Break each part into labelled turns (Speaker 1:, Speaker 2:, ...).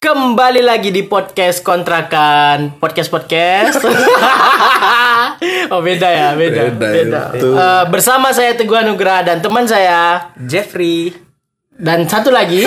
Speaker 1: Kembali lagi di podcast kontrakan Podcast podcast Oh beda ya beda,
Speaker 2: Beda,
Speaker 1: beda.
Speaker 2: itu.
Speaker 1: Eh, Bersama saya Teguh Anugrah dan teman saya
Speaker 3: Jeffrey.
Speaker 1: Dan satu lagi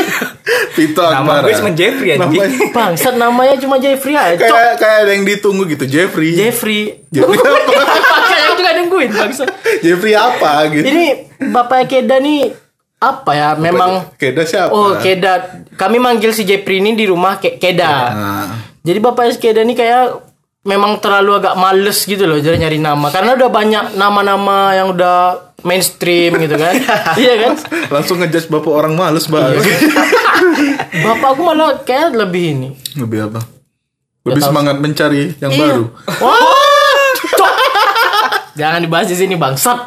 Speaker 2: Vito
Speaker 3: Nama
Speaker 2: Akmara.
Speaker 3: gue cuma Jeffrey anjing.
Speaker 2: Namanya-
Speaker 1: Bangsat namanya cuma Jeffrey aja Cok.
Speaker 2: kayak kayak ada yang ditunggu gitu Jeffrey
Speaker 1: Jeffrey
Speaker 2: Jeffrey apa
Speaker 1: Kayak juga nungguin bangsat
Speaker 2: Jeffrey apa gitu
Speaker 1: Ini Bapak Keda nih Apa ya memang
Speaker 2: Keda siapa
Speaker 1: Oh Keda Kami manggil si Jeffrey ini di rumah Ke- Keda
Speaker 2: Nah,
Speaker 1: Jadi Bapak Eskeda ini kayak memang terlalu agak males gitu loh jadi nyari nama karena udah banyak nama-nama yang udah mainstream gitu kan. iya kan?
Speaker 2: langsung ngejudge bapak orang males banget
Speaker 1: Iya. Bapak aku malah kayak lebih ini.
Speaker 2: lebih apa lebih semangat mencari yang
Speaker 1: Iya.
Speaker 2: baru
Speaker 1: Wah! Cok! Jangan dibahas di sini bangsat.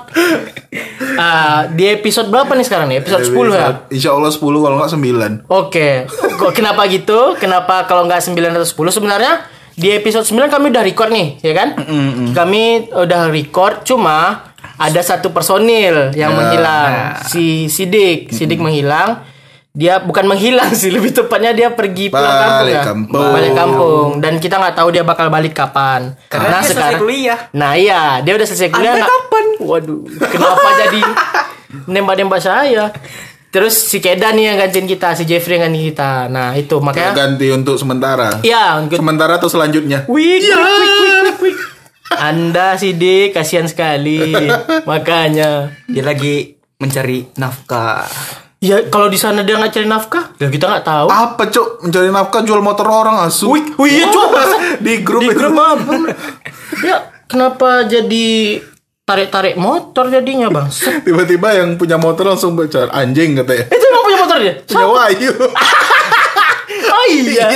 Speaker 1: Ah, di episode berapa nih sekarang nih? Episode 10 ya.
Speaker 2: Insya Allah 10 kalau nggak 9
Speaker 1: Oke. Kok kenapa gitu? Kenapa kalau nggak 9 atau 10 sebenarnya di episode 9 kami udah record nih, ya kan?
Speaker 2: Mm,
Speaker 1: Kami udah record cuma ada satu personil
Speaker 2: Ya.
Speaker 1: yang menghilang. Si
Speaker 2: Mm,
Speaker 1: Sidik, Sidik menghilang. Dia bukan menghilang sih, lebih tepatnya dia pergi pulang kampung,
Speaker 2: Balik
Speaker 1: ya?
Speaker 2: kampung.
Speaker 1: Balik kampung dan kita nggak tahu dia bakal balik kapan.
Speaker 3: Karena dia selesai kuliah.
Speaker 1: Nah, iya, dia udah selesai kuliah.
Speaker 3: Anda
Speaker 1: nggak-
Speaker 3: kapan?
Speaker 1: Waduh, kenapa jadi nembak-nembak saya? Terus si Keda nih yang gantiin kita, si Jeffrey yang gantiin kita. Nah, itu
Speaker 2: Kita
Speaker 1: makanya
Speaker 2: ganti untuk sementara
Speaker 1: Iya, untuk
Speaker 2: sementara atau selanjutnya
Speaker 1: Wih, wih, wih, wih, wih, wih. Anda sih Dik, kasihan sekali. makanya.
Speaker 3: Dia lagi mencari nafkah.
Speaker 1: Ya, kalau di sana dia nggak cari nafkah, ya kita nggak tahu.
Speaker 2: apa cok mencari nafkah jual motor orang asu
Speaker 1: Wih, wih, iya, Cuk, masa?
Speaker 2: di grup
Speaker 1: Di
Speaker 2: itu.
Speaker 1: grup apa? Ya, kenapa jadi tarik-tarik motor jadinya, Bang?
Speaker 2: tiba-tiba yang punya motor langsung baca anjing ya. katanya
Speaker 1: Itu emang punya motor dia?
Speaker 2: punya Wahyu
Speaker 1: Oh iya.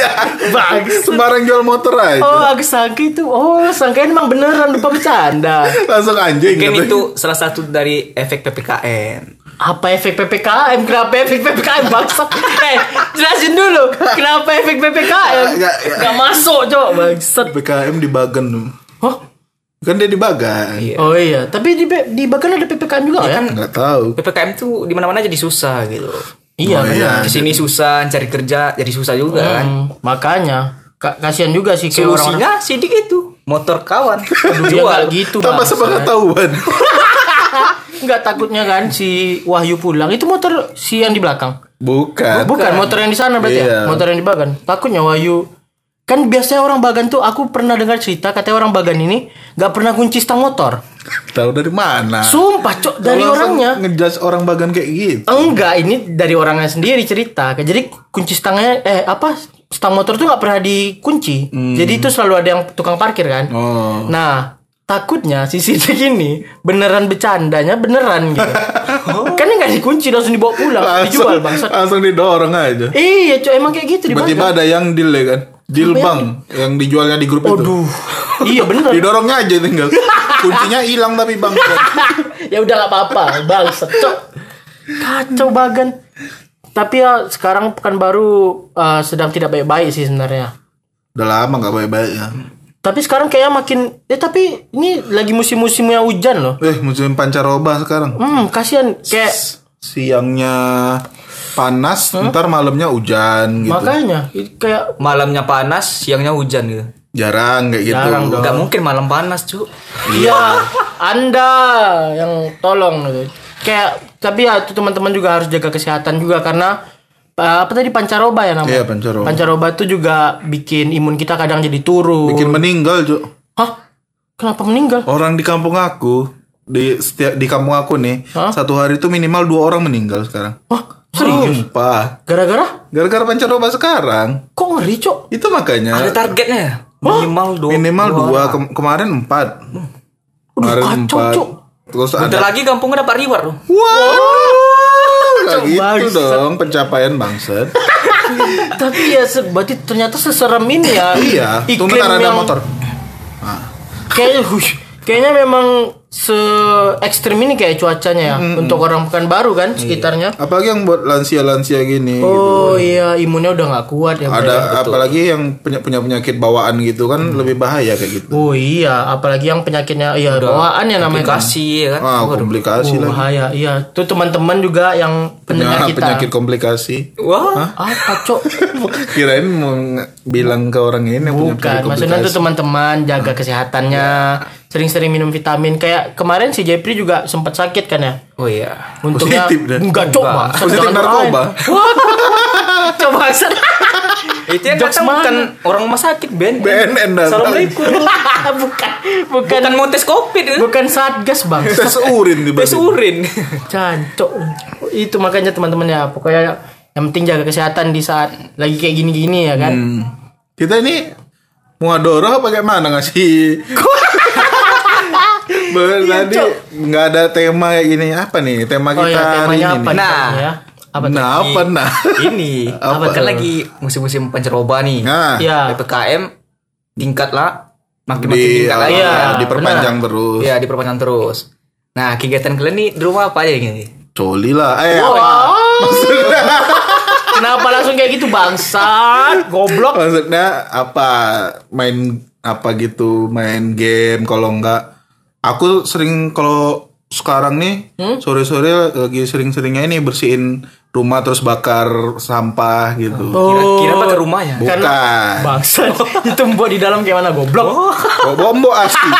Speaker 1: Bang.
Speaker 2: sembarang jual motor aja
Speaker 1: Oh, aku sangka itu. Oh, sangka emang beneran lupa bercanda.
Speaker 2: langsung anjing
Speaker 3: Mungkin
Speaker 2: katanya.
Speaker 3: itu salah satu dari efek PPKN.
Speaker 1: Apa efek PPKM? Kenapa efek PPKM bangsat? eh, jelasin dulu. Kenapa efek PPKM?
Speaker 2: Nggak,
Speaker 1: Gak, masuk, Cok. Bangsat.
Speaker 2: PKM di Bagan
Speaker 1: Oh,
Speaker 2: kan dia di Bagan
Speaker 3: Iya.
Speaker 1: oh iya. Tapi di di Bagan ada PPKM juga ya?
Speaker 2: nggak tahu
Speaker 3: PPKM tuh di mana-mana jadi susah gitu.
Speaker 1: Iya.
Speaker 2: Oh, iya.
Speaker 3: Di sini susah, cari kerja jadi susah juga kan.
Speaker 1: Hmm, makanya Ka- kasihan juga sih kayak orang-orang
Speaker 3: Solusinya sidik itu motor kawan.
Speaker 1: dia
Speaker 3: Jual.
Speaker 1: nggak gitu
Speaker 2: tambah
Speaker 1: Bang.
Speaker 2: sepengetahuan
Speaker 1: nggak takutnya kan si Wahyu pulang itu motor si yang di belakang
Speaker 2: bukan
Speaker 1: Bukan motor yang di sana berarti
Speaker 2: Iya.
Speaker 1: ya? Motor yang di Bagan. Takutnya Wahyu. Kan biasanya orang Bagan tuh aku pernah dengar cerita katanya orang Bagan ini nggak pernah kunci stang motor.
Speaker 2: tahu dari mana
Speaker 1: Sumpah, Cok, dari
Speaker 2: Langsung
Speaker 1: orangnya.
Speaker 2: ngejudge orang Bagan kayak gitu
Speaker 1: Enggak, ini dari orangnya sendiri cerita. Jadi kunci stangnya eh apa? Stang motor tuh nggak pernah dikunci. Jadi itu selalu ada yang tukang parkir kan.
Speaker 2: Hmm. Oh.
Speaker 1: Nah, takutnya si Sidik ini beneran bercandanya beneran gitu. kan nggak dikunci langsung dibawa pulang,
Speaker 2: langsung
Speaker 1: dijual bangsat.
Speaker 2: langsung didorong aja
Speaker 1: Iya, Cok, emang kayak gitu di Bagan.
Speaker 2: tiba-tiba ada yang deal ya kan deal
Speaker 1: Iya.
Speaker 2: bang yang dijualnya di grup itu
Speaker 1: Aduh. gitu. iya bener.
Speaker 2: didorongnya aja tinggal kuncinya hilang tapi bang
Speaker 1: ya udah nggak apa-apa bang secok kacau bagan tapi ya sekarang pekanbaru eh, sedang tidak baik-baik sih sebenarnya
Speaker 2: udah lama nggak baik-baik ya
Speaker 1: tapi sekarang kayaknya makin eh tapi ini lagi musim-musimnya hujan loh
Speaker 2: eh musim pancaroba sekarang
Speaker 1: hmm kasihan kayak
Speaker 2: siangnya panas, ntar malamnya hujan gitu.
Speaker 1: makanya i- kayak
Speaker 3: Malamnya panas, siangnya hujan gitu.
Speaker 2: Jarang kayak gitu.
Speaker 1: Jarang dong.
Speaker 3: Gak mungkin malam panas, Cuk.
Speaker 2: Iya.
Speaker 1: ya anda yang tolong gitu kayak tapi ya itu teman-teman juga harus jaga kesehatan juga karena eh, apa tadi pancaroba ya namanya
Speaker 2: Iya, pancaroba.
Speaker 1: pancaroba itu juga bikin imun kita kadang jadi turun
Speaker 2: Bikin meninggal, Cuk.
Speaker 1: Hah? Kenapa meninggal?
Speaker 2: Orang di kampung aku di setiap di kampung aku nih,
Speaker 1: Hah?
Speaker 2: satu hari itu minimal dua orang meninggal sekarang.
Speaker 1: Wah, serius?
Speaker 2: Hmm. Sumpah.
Speaker 1: Gara-gara?
Speaker 2: Gara-gara pancaroba sekarang.
Speaker 1: Kok ngeri, Cok?
Speaker 2: Itu makanya
Speaker 3: Ada targetnya. Minimal dua.
Speaker 2: minimal dua, Kem- kemarin empat. Kemarin
Speaker 1: kacau,
Speaker 2: empat.
Speaker 1: Cuk.
Speaker 2: Terus
Speaker 3: Bentar
Speaker 2: ada
Speaker 3: lagi kampungnya dapat reward loh.
Speaker 2: Wow, Kayak
Speaker 1: Cuk,
Speaker 2: gitu
Speaker 1: bangsat.
Speaker 2: dong pencapaian bangsa.
Speaker 1: Tapi ya, se- berarti ternyata seserem ini ya.
Speaker 2: iya,
Speaker 1: Iklim
Speaker 2: tunggu ntar ada
Speaker 1: yang
Speaker 2: motor.
Speaker 1: Kayaknya, hush, kayaknya memang se ekstrim ini kayak cuacanya ya
Speaker 2: Hmm.
Speaker 1: untuk orang Pekanbaru kan
Speaker 2: Iya.
Speaker 1: sekitarnya.
Speaker 2: Apalagi yang buat lansia-lansia gini. gitu.
Speaker 1: Oh iya, imunnya udah nggak kuat ya. Bro.
Speaker 2: Ada apalagi yang punya punya penyakit bawaan gitu kan
Speaker 1: Hmm.
Speaker 2: lebih bahaya kayak gitu.
Speaker 1: Oh iya, apalagi yang penyakitnya iya bawaan ya namanya. kan.
Speaker 3: Kasih ya kan.
Speaker 2: Ah, komplikasi
Speaker 1: Oh,
Speaker 2: lah.
Speaker 1: bahaya. Iya, tuh teman-teman juga yang pendengar
Speaker 2: Nah,
Speaker 1: kita.
Speaker 2: penyakit komplikasi.
Speaker 3: Wah.
Speaker 1: Apa, Cok?
Speaker 2: Kirain mau nge- bilang ke orang ini yang punya
Speaker 1: Bukan,
Speaker 2: penyakit
Speaker 1: maksudnya
Speaker 2: komplikasi.
Speaker 1: tuh teman-teman jaga kesehatannya,
Speaker 2: Iya.
Speaker 1: sering-sering minum vitamin. Kayak kemarin si Jepri juga sempat sakit kan ya.
Speaker 3: Oh iya.
Speaker 1: Untungnya
Speaker 2: Positif dah.
Speaker 1: enggak coba.
Speaker 2: Positif narkoba.
Speaker 1: coba set.
Speaker 3: Itu yang
Speaker 1: Jokes
Speaker 3: datang
Speaker 1: mana?
Speaker 3: bukan orang rumah sakit Ben.
Speaker 2: BNN datang.
Speaker 3: Assalamualaikum.
Speaker 1: bukan, bukan,
Speaker 3: Bukan mau tes covid ya.
Speaker 1: bukan satgas bang.
Speaker 2: tes urin di
Speaker 3: Tes urin.
Speaker 1: Cancok. Itu makanya teman-teman ya. Pokoknya yang penting jaga kesehatan di saat lagi kayak gini-gini ya kan.
Speaker 2: Hmm. Kita ini muadoro apa kayak mana ngasih? Bener, tadi nggak ada tema kayak gini apa nih tema
Speaker 1: Iya, Oh
Speaker 2: kita
Speaker 1: ya,
Speaker 2: hari
Speaker 1: temanya
Speaker 2: ini
Speaker 1: apa?
Speaker 2: nih?
Speaker 1: nih
Speaker 3: Nah.
Speaker 1: tadi ya? apa? tuh?
Speaker 2: nah apa nah
Speaker 3: Ini
Speaker 2: Apa?
Speaker 3: kan lagi musim-musim pancaroba nih.
Speaker 2: nah
Speaker 1: Ya.
Speaker 3: PPKM tingkat lah makin makin
Speaker 2: di
Speaker 3: tingkat lagi.
Speaker 1: Iya,
Speaker 2: ya, diperpanjang terus
Speaker 3: Iya, diperpanjang terus. Nah, kegiatan kalian nih di rumah apa aja ini?
Speaker 2: coli lah eh
Speaker 1: Wah,
Speaker 2: maksudnya
Speaker 1: Kenapa langsung kayak gitu bangsat? Goblok.
Speaker 2: maksudnya apa main apa gitu main game kalau enggak aku sering kalau sekarang nih sore-sore lagi sering-seringnya ini bersihin rumah terus bakar sampah gitu
Speaker 3: Kira-kira
Speaker 1: Oh.
Speaker 3: bakar rumahnya.
Speaker 2: bukan
Speaker 1: Bangsat. Itu buat di dalam kayak mana goblok?
Speaker 2: Bawa bombo asli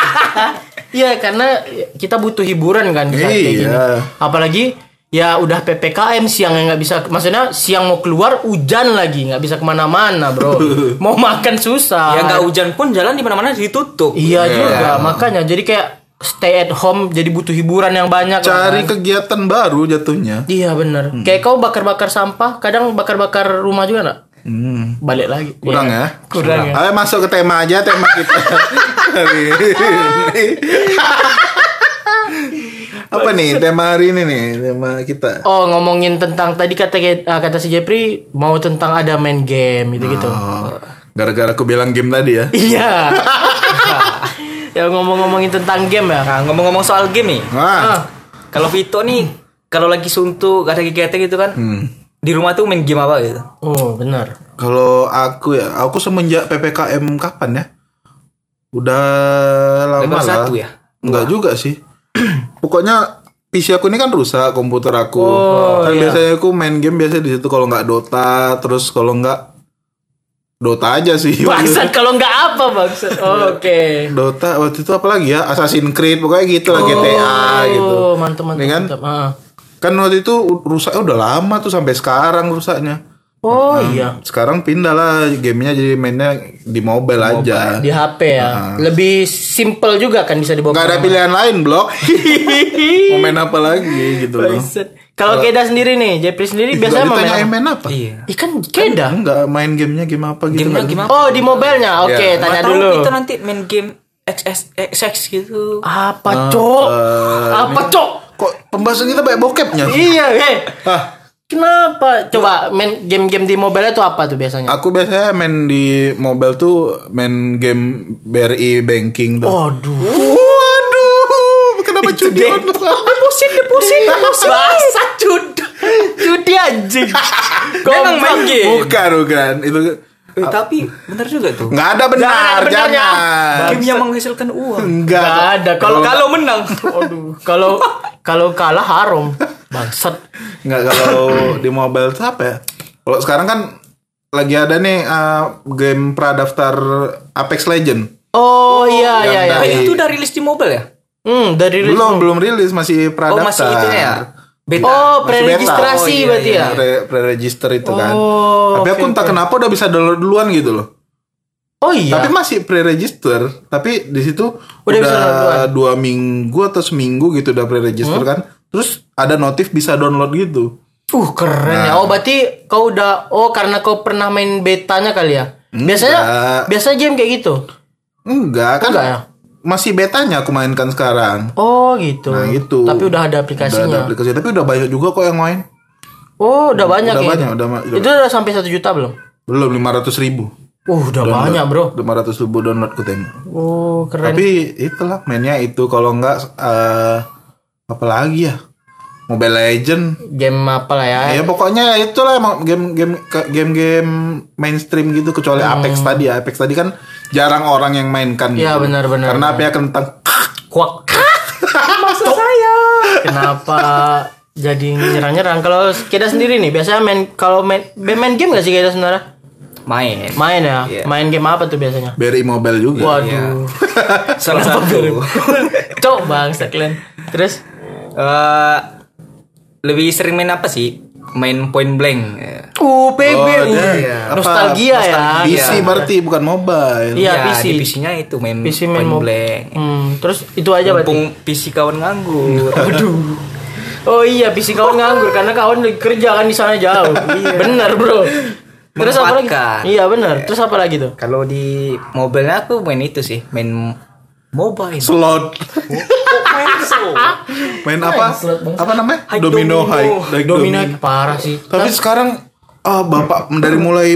Speaker 1: Iya karena kita butuh hiburan kan di saat kayak
Speaker 2: Iya.
Speaker 1: gini. Apalagi ya udah ppkm siang yang nggak bisa maksudnya siang mau keluar hujan lagi nggak bisa kemana-mana bro mau makan susah
Speaker 3: Ya nggak hujan pun jalan di mana-mana ditutup.
Speaker 1: iya
Speaker 2: Iya.
Speaker 1: juga makanya jadi kayak stay at home jadi butuh hiburan yang banyak
Speaker 2: cari Hmm.
Speaker 1: kan.
Speaker 2: kegiatan baru jatuhnya
Speaker 1: iya bener kayak kau bakar-bakar sampah kadang bakar-bakar rumah juga nggak
Speaker 2: Hmm.
Speaker 1: balik lagi
Speaker 2: kurang
Speaker 1: Iya.
Speaker 2: ya
Speaker 1: kurang ya
Speaker 2: Ayo masuk ke tema aja tema kita hari ini. Apa nih tema hari ini nih tema kita?
Speaker 1: Oh ngomongin tentang tadi kata ah, kata si Jepri mau tentang ada main game gitu gitu.
Speaker 2: Oh, gara-gara aku bilang game tadi ya.
Speaker 1: Iya. ya ngomong-ngomongin tentang game ya.
Speaker 2: Kan.
Speaker 1: Ah.
Speaker 3: Nah, ngomong-ngomong soal game nih.
Speaker 2: Ah. Wah,
Speaker 3: Kalau Vito nih kalau lagi suntuk, gak ada kegiatan gitu kan.
Speaker 2: Hmm.
Speaker 3: Di rumah tuh main game apa gitu?
Speaker 1: Oh benar.
Speaker 2: kalau aku ya, aku semenjak ppkm kapan ya? Udah lama
Speaker 3: Level
Speaker 2: lah.
Speaker 3: satu ya?
Speaker 2: Enggak juga sih. Pokoknya PC aku ini kan rusak komputer aku. kan biasanya aku main game biasanya di situ kalau nggak Dota, terus kalau nggak Dota aja sih.
Speaker 1: Bangsat kalau nggak apa bangsat.
Speaker 2: Iya.
Speaker 1: Oh, Oke.
Speaker 2: Dota waktu itu apa lagi ya Assassin's Creed pokoknya gitu lah GTA gitu
Speaker 1: Oh mantap mantap.
Speaker 2: Iya kan?
Speaker 1: mantap. Ah.
Speaker 2: kan waktu itu rusaknya udah lama tuh sampai sekarang rusaknya
Speaker 1: Oh
Speaker 2: Hmm.
Speaker 1: iya.
Speaker 2: sekarang pindah lah gamenya jadi mainnya di mobile, aja
Speaker 1: Di HP ya. Lebih simple juga kan bisa dibawa.
Speaker 2: Ah. nggak ada
Speaker 1: kemana-mana.
Speaker 2: pilihan lain blok mau main apa lagi gitu loh
Speaker 1: Bangsat. Kalau Keda sendiri nih, Jepri sendiri biasanya
Speaker 2: Biasanya
Speaker 1: mau
Speaker 2: ditanya
Speaker 1: main apa?
Speaker 2: main apa
Speaker 3: Iya.
Speaker 1: Ih kan Keda.
Speaker 2: nggak main gamenya game apa gitu
Speaker 3: Gamenya
Speaker 2: nggak
Speaker 3: gimana?
Speaker 1: Oh di mobilenya. Oke
Speaker 2: Iya.
Speaker 1: tanya
Speaker 3: Tahu
Speaker 1: dulu.
Speaker 3: Vito nanti main game XS XX gitu.
Speaker 2: Eh,
Speaker 1: Apa cok? apa cok?
Speaker 2: kok pembahasan kita banyak bokepnya
Speaker 1: Iya, heh.
Speaker 2: ah
Speaker 1: Kenapa? Coba main game-game di mobile itu apa tuh biasanya?
Speaker 2: aku biasanya main di mobile tuh main game BRI banking tuh
Speaker 1: Waduh.
Speaker 2: Waduh, kenapa judi online?
Speaker 1: Pusing deh, pusing.
Speaker 2: Iya.
Speaker 1: Bahasa judi. Judi anjing.
Speaker 3: Memang main
Speaker 1: Goblok.
Speaker 3: game.
Speaker 2: Bukan, bukan. Itu
Speaker 3: Eh, tapi bener juga tuh.
Speaker 2: nggak ada benar,
Speaker 1: Nggak ada benarnya.
Speaker 2: jangan.
Speaker 3: Game yang menghasilkan uang.
Speaker 2: Enggak.
Speaker 1: Nggak Oh, ada. Kalau
Speaker 3: Kalau kalau menang.
Speaker 1: Waduh. Kalau kalau kalah haram. Bangsat.
Speaker 2: Enggak kalau di mobile tuh apa ya? Kalau sekarang kan lagi ada nih eh, game pradaftar Apex Legend.
Speaker 1: Oh, iya
Speaker 2: yang
Speaker 1: iya iya.
Speaker 3: Ah,
Speaker 2: dari-
Speaker 3: itu udah rilis di mobile ya?
Speaker 1: Hmm, dari
Speaker 2: Belum, belum rilis, masih
Speaker 3: Oh,
Speaker 2: pradaftar.
Speaker 3: masih itu ya.
Speaker 1: Oh,
Speaker 3: Beta.
Speaker 2: Masih beta.
Speaker 1: pre-registrasi
Speaker 2: Oh, iya,
Speaker 1: berarti
Speaker 2: iya,
Speaker 1: ya.
Speaker 2: pre- Pre-register itu kan.
Speaker 1: Oh,
Speaker 2: Tapi aku
Speaker 1: oke,
Speaker 2: entah
Speaker 1: oke.
Speaker 2: kenapa udah bisa download duluan gitu loh.
Speaker 1: Oh iya.
Speaker 2: Tapi masih pre-register, tapi di situ
Speaker 1: Udah
Speaker 2: udah,
Speaker 1: bisa download. Hmm?
Speaker 2: dua minggu atau seminggu gitu udah pre-register kan. Terus ada notif bisa download gitu.
Speaker 1: Uh keren
Speaker 2: Nah.
Speaker 1: ya. Oh berarti kau udah oh karena kau pernah main betanya kali ya. Biasanya
Speaker 2: Enggak.
Speaker 1: biasanya game kayak gitu.
Speaker 2: Enggak kan?
Speaker 1: Enggak ya?
Speaker 2: Masih betanya aku mainkan sekarang.
Speaker 1: Oh gitu.
Speaker 2: Nah, gitu.
Speaker 1: Tapi udah ada
Speaker 2: Udah
Speaker 1: aplikasinya.
Speaker 2: ada aplikasi, tapi udah banyak juga kok yang main.
Speaker 1: Oh udah banyak
Speaker 2: udah
Speaker 1: ya.
Speaker 2: banyak, udah ma- udah-
Speaker 1: Itu udah sampai satu juta belum?
Speaker 2: Belum 500 ribu.
Speaker 1: Uh, udah banyak, Bro.
Speaker 2: 500 ribu download ku tengok.
Speaker 1: Oh, keren.
Speaker 2: Tapi itulah mainnya itu kalau enggak eh apa lagi ya? Mobile Legend.
Speaker 1: Game apa lah ya?
Speaker 2: Ya pokoknya itulah emang game-game ke- game-game mainstream gitu kecuali Apex tadi ya. Apex tadi kan jarang orang yang
Speaker 1: Hmm.
Speaker 2: mainkan.
Speaker 1: Iya,
Speaker 2: gitu.
Speaker 1: benar-benar.
Speaker 2: Karena apa ya kentang.
Speaker 3: Kuak.
Speaker 2: Maksud saya.
Speaker 1: Kenapa jadi nyerang-nyerang? Kalau kita sendiri nih, biasanya main kalau main main game gak sih kita sebenarnya?
Speaker 3: Main.
Speaker 1: Main ya?
Speaker 3: Iya.
Speaker 1: Main game apa tuh biasanya?
Speaker 2: Beri Mobile juga.
Speaker 1: Waduh.
Speaker 3: Salah satu.
Speaker 1: Cok bangsat kalian. Terus
Speaker 3: Eh, lebih sering main apa sih? Main point blank. Ya.
Speaker 1: Uh, PB.
Speaker 2: Oh,
Speaker 1: uh.
Speaker 2: ada ya. Apa,
Speaker 1: nostalgia, ya.
Speaker 2: PC berarti bukan mobile.
Speaker 1: Iya,
Speaker 3: Ya,
Speaker 1: PC.
Speaker 3: Di PC-nya itu main
Speaker 1: PC main
Speaker 3: point
Speaker 1: mob.
Speaker 3: blank.
Speaker 1: Hmm, terus itu aja berarti.
Speaker 3: Mumpung PC kawan nganggur. Aduh.
Speaker 1: Oh iya, PC kawan nganggur karena kawan lagi kerja kan di sana jauh. bener, Bro. Terus apa lagi?
Speaker 3: Memanfaatkan.
Speaker 1: Iya, bener. Terus apa lagi tuh?
Speaker 3: Kalau di mobilnya aku main itu sih, main mobile.
Speaker 2: Slot. Main apa? Apa namanya?
Speaker 3: High
Speaker 2: domino,
Speaker 3: domino.
Speaker 2: high.
Speaker 1: Like
Speaker 2: High
Speaker 1: domino parah sih.
Speaker 2: Tapi sekarang ah, bapak dari mulai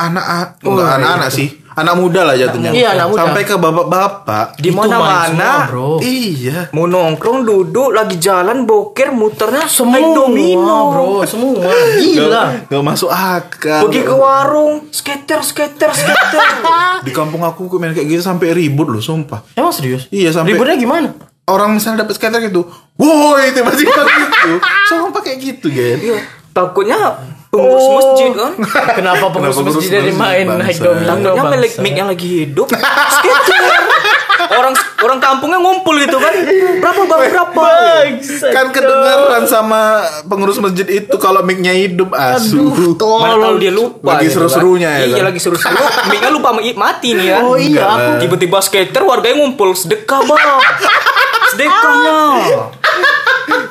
Speaker 2: anak enggak anak-anak sih. Anak muda lah jatuhnya.
Speaker 1: Oh, Iya, anak muda.
Speaker 2: Sampai ke bapak-bapak.
Speaker 3: Di
Speaker 1: Itu main semua,
Speaker 3: mana-mana
Speaker 1: Bro.
Speaker 2: Iya.
Speaker 3: mau nongkrong duduk lagi jalan boker muternya
Speaker 1: Semua,
Speaker 3: main domino
Speaker 1: Bro. Semua. Gila.
Speaker 2: Gak, gak masuk akal.
Speaker 3: pergi ke warung skater skater skater
Speaker 2: Di kampung aku aku main kayak gitu sampai ribut loh, sumpah.
Speaker 1: Emang serius?
Speaker 2: Iya, sampai-
Speaker 1: Ributnya gimana?
Speaker 2: Orang misalnya dapat skater gitu, woi tiba-tiba gitu. Sumpah kayak gitu, Gen.
Speaker 3: Iya. takutnya pengurus
Speaker 1: Oh.
Speaker 3: masjid kan
Speaker 1: Kenapa pengurus
Speaker 2: Kenapa
Speaker 1: masjid dari
Speaker 2: pengurus
Speaker 1: main
Speaker 2: masjid,
Speaker 1: naik
Speaker 2: bangsa?
Speaker 1: domino?
Speaker 3: takutnya milik
Speaker 1: bangsa?
Speaker 3: mic-nya lagi hidup skater orang orang kampungnya ngumpul itu kan berapa berapa berapa
Speaker 1: Bangsa,
Speaker 2: kan kedengeran sama pengurus masjid itu kalau mic-nya hidup asu.
Speaker 3: Mana tahu dia lupa
Speaker 2: Lagi
Speaker 3: gitu
Speaker 2: seru-serunya
Speaker 3: kan.
Speaker 2: ya.
Speaker 3: Iya
Speaker 2: kan?
Speaker 3: lagi seru-seru Mic-nya lupa mi- mati nih ya
Speaker 1: Oh iya, aku
Speaker 3: Tiba-tiba skater warganya ngumpul Sedekah bang Sedekahnya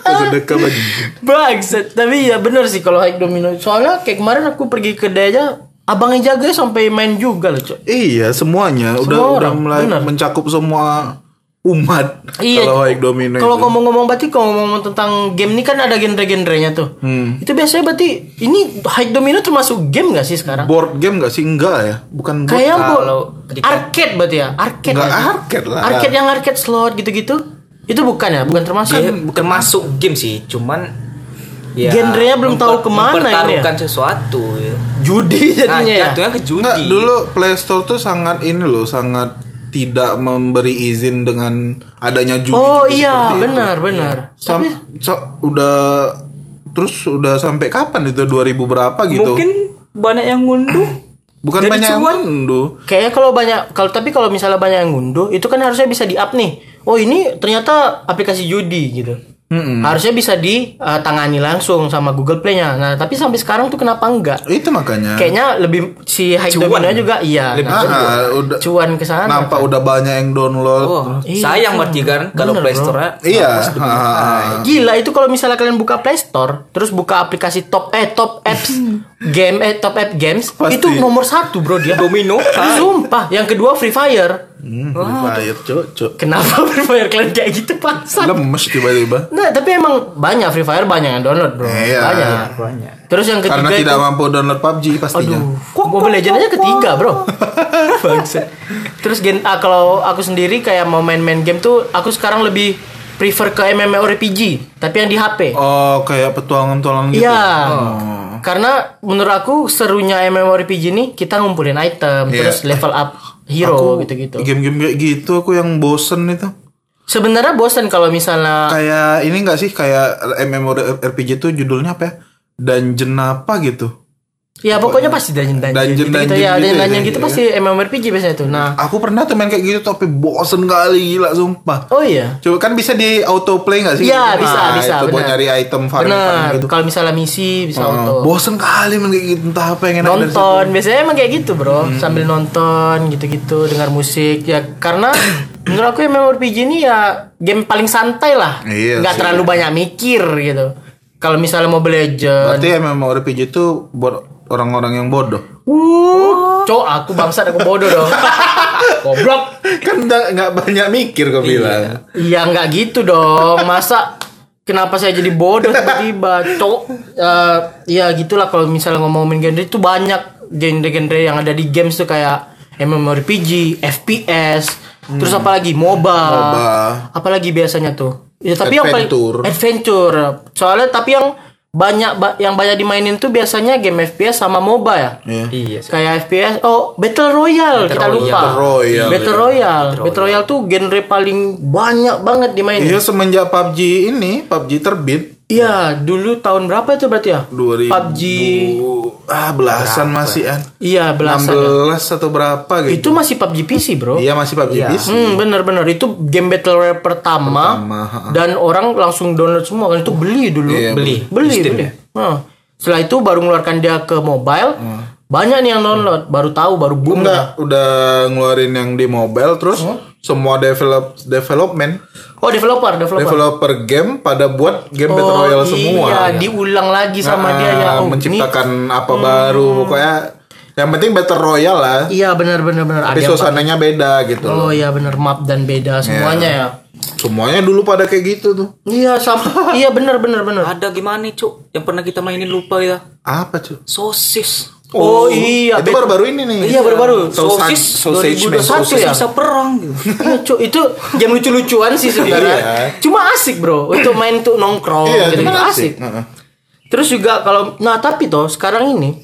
Speaker 2: Sedekah bagi.
Speaker 1: Bangsat, tapi ya bener sih kalau high domino. Soalnya kayak kemarin aku pergi ke aja, abangnya jaga sampai main juga loh, Cok.
Speaker 2: Iya, semuanya udah
Speaker 1: Semua
Speaker 2: udah
Speaker 1: orang,
Speaker 2: mulai
Speaker 1: benar.
Speaker 2: mencakup semua umat.
Speaker 1: Iya.
Speaker 2: Kalau Haik Domino
Speaker 1: Kalau
Speaker 2: itu.
Speaker 1: ngomong-ngomong berarti kalau ngomong tentang game ini kan ada genre-genrenya tuh.
Speaker 2: Hmm.
Speaker 1: Itu biasanya berarti ini high domino termasuk game gak sih sekarang?
Speaker 2: board game gak sih enggak ya? Bukan board.
Speaker 1: Kayak bu,
Speaker 3: kalau di- kan-
Speaker 1: arcade berarti ya, arcade.
Speaker 2: Nggak
Speaker 1: ya?
Speaker 2: arcade lah.
Speaker 1: Arcade yang arcade slot gitu-gitu. Itu bukan ya, bukan termasuk.
Speaker 3: Dia termasuk game sih Cuman ya
Speaker 1: Genrenya belum tahu kemana ini ya.
Speaker 3: Mempertaruhkan sesuatu ya.
Speaker 1: Judi
Speaker 3: Nah,
Speaker 1: jadinya ya.
Speaker 3: jatuhnya ke judi
Speaker 2: Enggak, dulu Play Store tuh sangat ini loh, sangat tidak memberi izin dengan adanya judi.
Speaker 1: Oh
Speaker 2: judi
Speaker 1: iya,
Speaker 2: seperti itu.
Speaker 1: benar, benar.
Speaker 2: Sam,
Speaker 1: Tapi
Speaker 2: sa- udah terus udah sampai kapan itu 2000 berapa gitu?
Speaker 3: Mungkin banyak yang ngunduh
Speaker 2: Bukan
Speaker 3: Jadi
Speaker 2: banyak yang
Speaker 3: cuan.
Speaker 2: unduh.
Speaker 1: Kayaknya kalau banyak kalau tapi kalau misalnya banyak yang ngunduh itu kan harusnya bisa di up nih. Oh ini ternyata aplikasi judi gitu. Harusnya bisa ditangani langsung sama Google Play-nya. Nah tapi sampai sekarang tuh kenapa enggak?
Speaker 2: Itu makanya.
Speaker 1: Kayaknya lebih si High
Speaker 3: Cuan.
Speaker 1: Domino juga iya.
Speaker 3: Lebih
Speaker 1: Nah,
Speaker 2: Ah, ah, udah
Speaker 1: cuan ke sana.
Speaker 2: nampak udah banyak yang download.
Speaker 3: Oh,
Speaker 1: Iya,
Speaker 3: sayang
Speaker 1: kan.
Speaker 3: berarti kan kalau
Speaker 1: Bener,
Speaker 3: Play
Speaker 1: bro.
Speaker 3: Store
Speaker 2: iya. ah, ah, ah.
Speaker 1: Gila itu kalau misalnya kalian buka Play Store terus buka aplikasi top eh top apps game eh top app games
Speaker 2: Pasti.
Speaker 1: itu nomor satu bro dia.
Speaker 3: Domino
Speaker 1: Sumpah. Yang kedua Free Fire.
Speaker 2: Hmm, Fire, cuk, cuk.
Speaker 1: Kenapa Free Fire kalian kayak gitu paksa?
Speaker 2: Lemes tiba-tiba.
Speaker 1: Nah, tapi emang banyak Free Fire banyak yang download, Bro.
Speaker 2: Iya.
Speaker 1: Banyak.
Speaker 3: Banyak
Speaker 1: Terus yang ketiga
Speaker 2: Karena
Speaker 1: itu-
Speaker 2: tidak mampu download PUBG pastinya.
Speaker 1: aduh, kok Mobile Legends aja ketiga, Bro. Bangsat. Terus gen ah, kalau aku sendiri kayak mau main-main game tuh aku sekarang lebih prefer ke MMORPG, tapi yang di HP.
Speaker 2: Oh, kayak petualangan-petualangan gitu.
Speaker 1: Iya. Karena menurut aku serunya MMORPG ini kita ngumpulin item,
Speaker 2: Iya.
Speaker 1: terus level up hero Oh, gitu-gitu.
Speaker 2: Oh. Game-game kayak gitu aku yang bosen itu.
Speaker 1: Sebenarnya bosan kalau misalnya
Speaker 2: Kayak ini enggak sih kayak MMORPG itu judulnya apa ya? Dungeon apa gitu.
Speaker 1: ya pokoknya pasti dungeon dungeon,
Speaker 2: Dungeon-
Speaker 1: gitu, ya,
Speaker 2: dungeon gitu ya,
Speaker 1: dungeon, dungeon
Speaker 2: dungeon,
Speaker 1: gitu
Speaker 2: iya.
Speaker 1: pasti MMORPG biasanya tuh. Nah,
Speaker 2: Aku pernah tuh main kayak gitu tapi bosen kali gila sumpah.
Speaker 1: oh iya.
Speaker 2: Coba kan bisa di autoplay nggak sih?
Speaker 1: Iya, bisa,
Speaker 2: Nah,
Speaker 1: bisa,
Speaker 2: Itu buat
Speaker 1: benar.
Speaker 2: nyari item farming
Speaker 1: Bener,
Speaker 2: gitu.
Speaker 1: kalau misalnya misi bisa auto.
Speaker 2: Oh, bosen kali main kayak gitu entah apa yang enak dari situ. Hmm.
Speaker 1: nonton, biasanya emang kayak gitu bro, sambil nonton gitu-gitu, dengar musik ya karena menurut aku MMORPG ini ya game paling santai lah,
Speaker 2: Iya
Speaker 1: nggak
Speaker 2: sih.
Speaker 1: terlalu banyak mikir gitu. Kalau misalnya Mobile Legend,
Speaker 2: Berarti ya MMORPG itu buat orang-orang yang bodoh.
Speaker 1: cowok aku bangsat aku bodoh dong, goblok.
Speaker 2: kan nggak nggak banyak mikir gue bilang.
Speaker 1: Iya nggak gitu dong, masa kenapa saya jadi iya bodoh tiba-tiba, cowok? Eh, ya gitulah kalau misalnya ngomongin genre itu banyak genre-genre yang ada di games tuh kayak MMORPG, FPS, terus apalagi MOBA.
Speaker 2: MOBA.
Speaker 1: Apalagi biasanya tuh. Ya tapi
Speaker 2: Adventure.
Speaker 1: yang paling adventure. Soalnya tapi yang banyak ba- yang banyak dimainin tuh biasanya game FPS sama MOBA ya.
Speaker 2: Iya.
Speaker 3: Iya. sih.
Speaker 1: Kayak FPS, oh Battle Royale kita lupa.
Speaker 2: Battle Royale.
Speaker 1: Battle Royale. Battle Royale tuh genre paling banyak banget dimainin.
Speaker 2: Iya semenjak PUBG ini PUBG terbit
Speaker 1: Iya, dulu tahun berapa itu berarti ya?
Speaker 2: 2000
Speaker 1: PUBG.
Speaker 2: ah belasan masih an
Speaker 1: Iya, belasan. ya.
Speaker 2: 16 atau berapa gitu.
Speaker 1: Itu masih PUBG PC, Bro.
Speaker 2: Iya masih PUBG bis.
Speaker 1: Hmm, bener-bener itu game battle royale pertama,
Speaker 2: Pertama,
Speaker 1: dan orang langsung download semua kan itu beli dulu,
Speaker 2: Iya,
Speaker 1: beli, beli, beli. Nah, setelah itu baru mengeluarkan dia ke mobile, banyak nih yang download, baru tahu, baru boom.
Speaker 2: Enggak, udah ngeluarin yang di mobile terus semua develop development
Speaker 1: Oh developer, developer.
Speaker 2: developer game pada buat game Battle
Speaker 1: Oh,
Speaker 2: Royale semua.
Speaker 1: Iya, diulang lagi sama
Speaker 2: Ah,
Speaker 1: dia ya. Oh,
Speaker 2: menciptakan apa baru pokoknya yang penting Battle Royale lah.
Speaker 1: ini- Iya benar-benar benar.
Speaker 2: Tapi Iya.
Speaker 1: Ada yang-
Speaker 2: suasananya beda gitu.
Speaker 1: Oh iya benar map dan beda semuanya ya.
Speaker 2: Semuanya dulu pada kayak gitu tuh.
Speaker 1: Iya sama. iya benar benar benar.
Speaker 3: Ada gimana nih, Cuk? Yang pernah kita mainin lupa ya.
Speaker 2: Apa cuy?
Speaker 3: Sosis.
Speaker 1: Oh, iya.
Speaker 2: Itu baru-baru ini nih.
Speaker 1: Iya baru-baru.
Speaker 2: Sausage-
Speaker 3: Sosis
Speaker 2: sausage man.
Speaker 1: 2021
Speaker 3: Sosis
Speaker 1: ya.
Speaker 3: bisa perang gitu.
Speaker 1: Iya, cu, itu game lucu-lucuan sih sebenarnya.
Speaker 2: Iya.
Speaker 1: Cuma asik, Bro. Untuk main tuh nongkrong
Speaker 2: Iya,
Speaker 1: gitu,
Speaker 2: cuman
Speaker 1: asik.
Speaker 2: asik. Heeh.
Speaker 1: Terus juga kalau nah tapi toh sekarang ini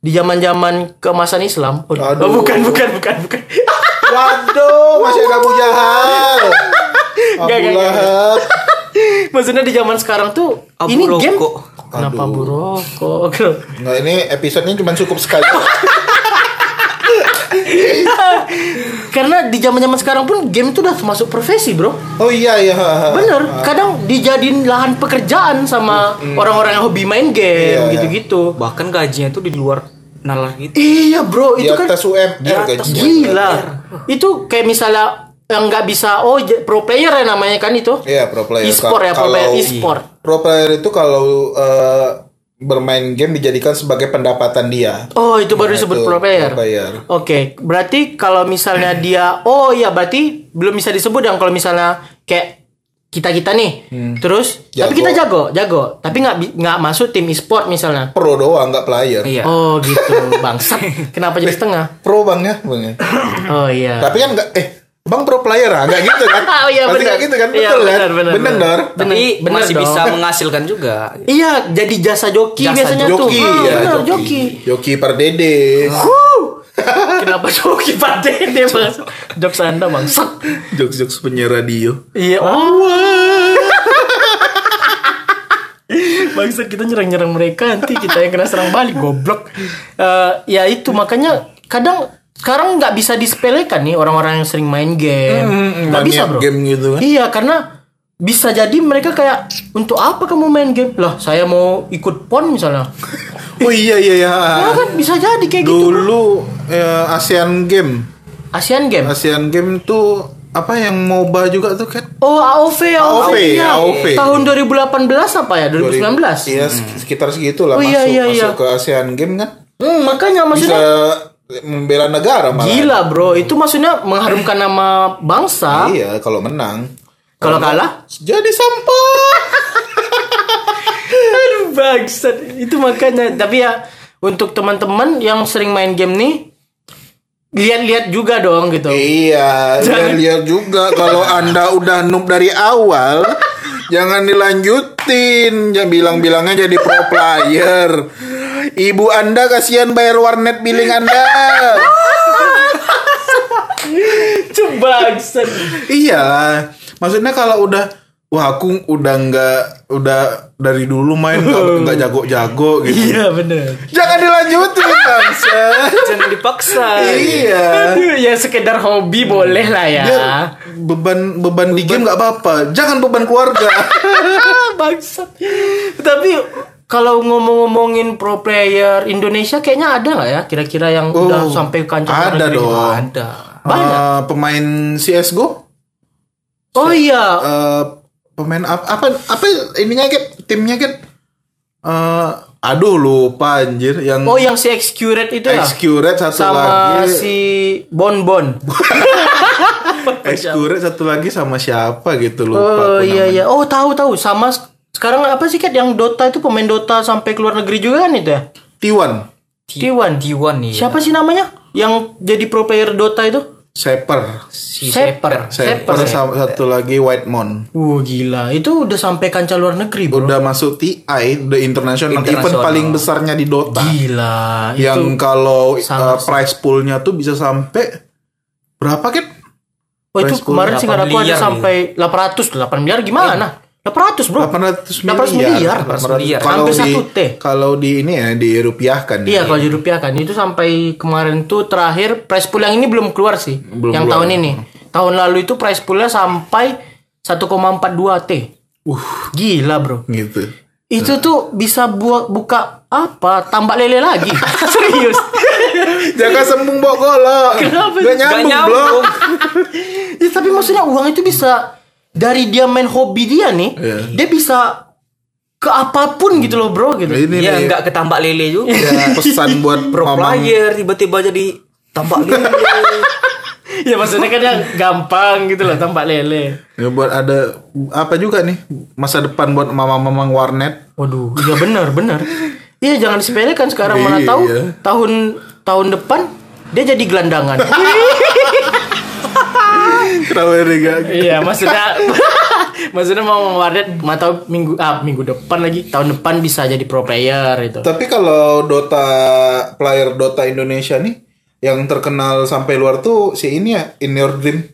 Speaker 1: di zaman-zaman keemasan Islam. Oh,
Speaker 2: Aduh.
Speaker 1: oh, bukan bukan bukan bukan.
Speaker 2: Waduh, masih ada Abu Jahal.
Speaker 1: Gak,
Speaker 2: Abu
Speaker 1: gak, gak.
Speaker 2: Lahab.
Speaker 1: Maksudnya di zaman sekarang tuh
Speaker 3: Abu
Speaker 1: ini game
Speaker 3: rokok.
Speaker 1: Kenapa
Speaker 2: Aduh.
Speaker 1: buruk?
Speaker 2: Nah, ini episodenya cuma cukup sekali.
Speaker 1: Karena di zaman-zaman sekarang pun game itu udah termasuk profesi, Bro.
Speaker 2: Oh iya iya.
Speaker 1: Bener, kadang dijadiin lahan pekerjaan sama orang-orang yang hobi main game
Speaker 2: Hmm, Iya, iya.
Speaker 1: gitu-gitu.
Speaker 3: Bahkan gajinya tuh di luar nalar gitu.
Speaker 1: Iya bro,
Speaker 2: Di
Speaker 1: itu kan Iya,
Speaker 2: atas E UMR
Speaker 3: Di atas
Speaker 2: gajinya.
Speaker 1: gila. Itu kayak misalnya yang nggak bisa, oh j- pro player ya namanya kan itu.
Speaker 2: Iya, pro player.
Speaker 1: E-sport ya, pro
Speaker 2: Kalau-
Speaker 1: player e-sport.
Speaker 2: Pro player itu kalau eh, bermain game dijadikan sebagai pendapatan dia.
Speaker 1: Oh itu baru disebut
Speaker 2: Nah, itu Hmm.
Speaker 1: pro player.
Speaker 2: pro player.
Speaker 1: Oke, berarti kalau misalnya dia, oh iya berarti belum bisa disebut yang kalau misalnya kayak kita kita nih, terus tapi
Speaker 2: Hmm. Jago.
Speaker 1: kita jago, jago, tapi nggak bi- nggak masuk tim e-sport misalnya.
Speaker 2: Pro doang nggak player.
Speaker 3: Iya.
Speaker 1: Oh gitu, bangsat. Kenapa jadi setengah?
Speaker 2: Pro bang ya, bang ya.
Speaker 1: Oh iya.
Speaker 2: Tapi kan nggak eh Bang pro player ah, nggak gitu kan?
Speaker 1: Oh iya,
Speaker 2: Pasti
Speaker 1: bener.
Speaker 2: nggak gitu kan?
Speaker 1: Iya,
Speaker 2: Betul kan?
Speaker 1: bener, bener,
Speaker 2: Bener,
Speaker 1: bener.
Speaker 2: Dor?
Speaker 3: Tapi
Speaker 1: Bener- bener
Speaker 3: masih
Speaker 1: dong.
Speaker 3: bisa menghasilkan juga.
Speaker 1: Iya, jadi jasa joki
Speaker 3: Jasa
Speaker 1: biasanya tuh.
Speaker 2: Joki,
Speaker 1: Ah,
Speaker 2: ya,
Speaker 1: benar,
Speaker 2: joki.
Speaker 1: joki.
Speaker 2: Joki per dede.
Speaker 1: Huh. Kenapa joki pada ini bang? Jokes anda bangsat.
Speaker 2: Jokes-jokes penyiar radio.
Speaker 1: Iya. Oh. bangsat kita nyerang-nyerang mereka nanti kita yang kena serang balik goblok. Eh, ya itu makanya kadang sekarang nggak bisa disepelekan nih orang-orang yang sering main game. Nggak bisa
Speaker 2: Maniak
Speaker 1: bro.
Speaker 2: Game gitu kan.
Speaker 1: Iya karena bisa jadi mereka kayak untuk apa kamu main game lah saya mau ikut pon misalnya
Speaker 2: Oh iya iya iya.
Speaker 1: Ya kan bisa jadi kayak gitu bro.
Speaker 2: Dulu eh, ASEAN Game.
Speaker 1: ASEAN Game
Speaker 2: ASEAN Game tuh apa yang MOBA juga tuh kan?
Speaker 1: Oh AOV AOV,
Speaker 2: AOV,
Speaker 1: iya.
Speaker 2: AOV.
Speaker 1: Tahun 2018 apa ya 2019
Speaker 2: Iya, se- sekitar segitu lah
Speaker 1: Hmm. Oh, iya,
Speaker 2: masuk
Speaker 1: iya,
Speaker 2: masuk
Speaker 1: iya.
Speaker 2: ke ASEAN Game kan.
Speaker 1: hmm, Makanya
Speaker 2: Bisa
Speaker 1: maksudnya
Speaker 2: membela negara malah.
Speaker 1: Gila bro Itu maksudnya mengharumkan nama bangsa
Speaker 2: Iya, kalau menang
Speaker 1: Kalau kalah
Speaker 2: jadi sampah.
Speaker 1: Aduh bangsat Itu makanya Tapi ya Untuk teman-teman yang sering main game nih Lihat-lihat juga dong gitu
Speaker 2: iya, dan lihat juga kalau Anda udah noob dari awal Jangan dilanjutin, jangan bilang-bilangnya jadi pro player. Ibu Anda kasihan bayar warnet billing Anda.
Speaker 1: Itu bangsat
Speaker 2: Iyalah, Iya. maksudnya kalau udah wah aku udah nggak udah dari dulu main nggak nggak jago-jago gitu.
Speaker 1: Iya bener
Speaker 2: Jangan dilanjutin bangsa.
Speaker 3: Jangan dipaksa.
Speaker 2: iya.
Speaker 1: Aduh, ya sekedar hobi boleh lah ya
Speaker 2: Dia beban beban di game nggak apa-apa. Jangan beban keluarga.
Speaker 1: Ah, Bangsat. Tapi kalau ngomong-ngomongin pro player Indonesia kayaknya ada nggak ya kira-kira yang udah
Speaker 2: Oh,
Speaker 1: sampai kancah luar
Speaker 2: ada
Speaker 1: negeri?
Speaker 2: dong.
Speaker 3: Ada.
Speaker 1: Banyak.
Speaker 2: Eh, pemain CS:GO
Speaker 1: Oh iya.
Speaker 2: eh pemain apa apa apa ininya Gap? timnya Gap? Eh, aduh lupa anjir yang
Speaker 1: Oh yang si Excurate itu ya.
Speaker 2: Excurate satu
Speaker 1: sama
Speaker 2: lagi
Speaker 1: si Bon Bon.
Speaker 2: Excurate satu lagi sama siapa gitu lupa
Speaker 1: Oh
Speaker 2: aku
Speaker 1: iya iya. Oh tahu tahu sama s- sekarang apa sih Kat yang Dota itu pemain Dota sampai ke luar negeri juga kan itu ya?
Speaker 2: T1.
Speaker 1: T1.
Speaker 3: T1 nih.
Speaker 1: Siapa sih namanya? Yang jadi pro player Dota itu?
Speaker 2: Saper.
Speaker 3: Si Shaper.
Speaker 2: Saper
Speaker 1: ya.
Speaker 2: sama satu lagi White Moon.
Speaker 1: Wuh Uh, gila, itu udah sampai kancah luar negeri, bro.
Speaker 2: Udah masuk TI, the international, event
Speaker 3: International.
Speaker 2: paling besarnya di Dota.
Speaker 1: Gila, itu
Speaker 2: yang kalau uh,
Speaker 1: sangat-
Speaker 2: price poolnya tuh bisa sampai berapa kan?
Speaker 1: Oh, itu
Speaker 2: price pool
Speaker 1: kemarin sih
Speaker 3: 8
Speaker 1: aku ada
Speaker 3: miliar
Speaker 1: sampai 800, 8 miliar gimana? 800, Bro. 800
Speaker 2: 800 Eh, miliar.
Speaker 1: miliar.
Speaker 2: 800
Speaker 3: miliar.
Speaker 2: Kalau
Speaker 1: Hampir
Speaker 2: di
Speaker 1: 1 T.
Speaker 2: kalau di ini ya dirupiahkan. ya,
Speaker 1: Iya, kalau dirupiahkan itu sampai kemarin tuh terakhir price pool yang ini belum keluar sih.
Speaker 2: Belum
Speaker 1: yang
Speaker 2: keluar.
Speaker 1: tahun ini. Tahun lalu itu price poolnya sampai 1,42 T.
Speaker 2: Uh,
Speaker 1: Gila, Bro.
Speaker 2: gitu.
Speaker 1: Itu tuh bisa buat buka apa? Tambak lele lagi. Serius.
Speaker 2: Jaga sembung bawa golok.
Speaker 1: Kenapa?
Speaker 2: Gak
Speaker 3: Gak
Speaker 2: nyambung,
Speaker 3: nyambung.
Speaker 2: blok.
Speaker 1: ya, tapi maksudnya uang itu bisa dari dia main hobi dia nih,
Speaker 2: Iya.
Speaker 1: dia bisa ke apapun gitu loh, Bro, gitu.
Speaker 2: Ini
Speaker 3: Iya,
Speaker 2: nih,
Speaker 3: nggak ketambak lele juga.
Speaker 2: ya, pesan buat
Speaker 3: Pro
Speaker 2: mamang
Speaker 3: player tiba-tiba jadi tambak lele.
Speaker 1: ya maksudnya kan yang gampang gitu loh tampak lele.
Speaker 2: Ya, buat ada apa juga nih masa depan buat mamang-mamang warnet.
Speaker 1: Waduh, iya benar benar. Iya jangan disepelekan sekarang mana
Speaker 2: Iya.
Speaker 1: tahu tahun tahun depan dia jadi gelandangan.
Speaker 2: Kenapa ini gak-
Speaker 1: iya maksudnya maksudnya mau warnet mana tahu minggu ah minggu depan lagi tahun depan bisa jadi pro player gitu.
Speaker 2: Tapi kalau Dota player Dota Indonesia nih yang terkenal sampai luar tuh si ini ya In Your Dream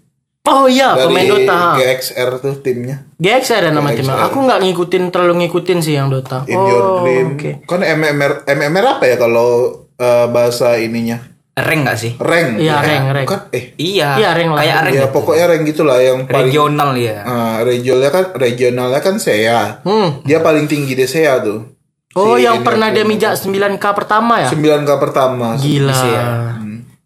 Speaker 1: Oh iya pemain
Speaker 2: dari
Speaker 1: Dota.
Speaker 2: GXR tuh timnya.
Speaker 1: GX ada nama timnya. Aku nggak ngikutin terlalu ngikutin sih yang Dota.
Speaker 2: In Your
Speaker 1: oh
Speaker 2: Dream.
Speaker 1: oke.
Speaker 2: Kan MMR MMR apa ya kalau eh, bahasa ininya?
Speaker 3: Rank gak sih?
Speaker 2: Rank.
Speaker 1: Iya,
Speaker 2: bukan?
Speaker 1: rank, rank.
Speaker 2: Bukan? Eh,
Speaker 3: Iya.
Speaker 1: Iya, rank lah.
Speaker 3: Kayak rank
Speaker 2: ya pokoknya rank gitulah yang paling
Speaker 3: regional ya.
Speaker 2: eh, regionalnya kan regionalnya kan Sea.
Speaker 1: Hmm.
Speaker 2: Dia paling tinggi di Sea tuh.
Speaker 1: Oh
Speaker 2: Si
Speaker 1: yang
Speaker 2: In
Speaker 1: pernah
Speaker 2: Your
Speaker 1: dia
Speaker 2: Dream.
Speaker 1: mijak 9K pertama ya?
Speaker 2: 9K pertama.
Speaker 1: Gila.
Speaker 3: Bisa ya.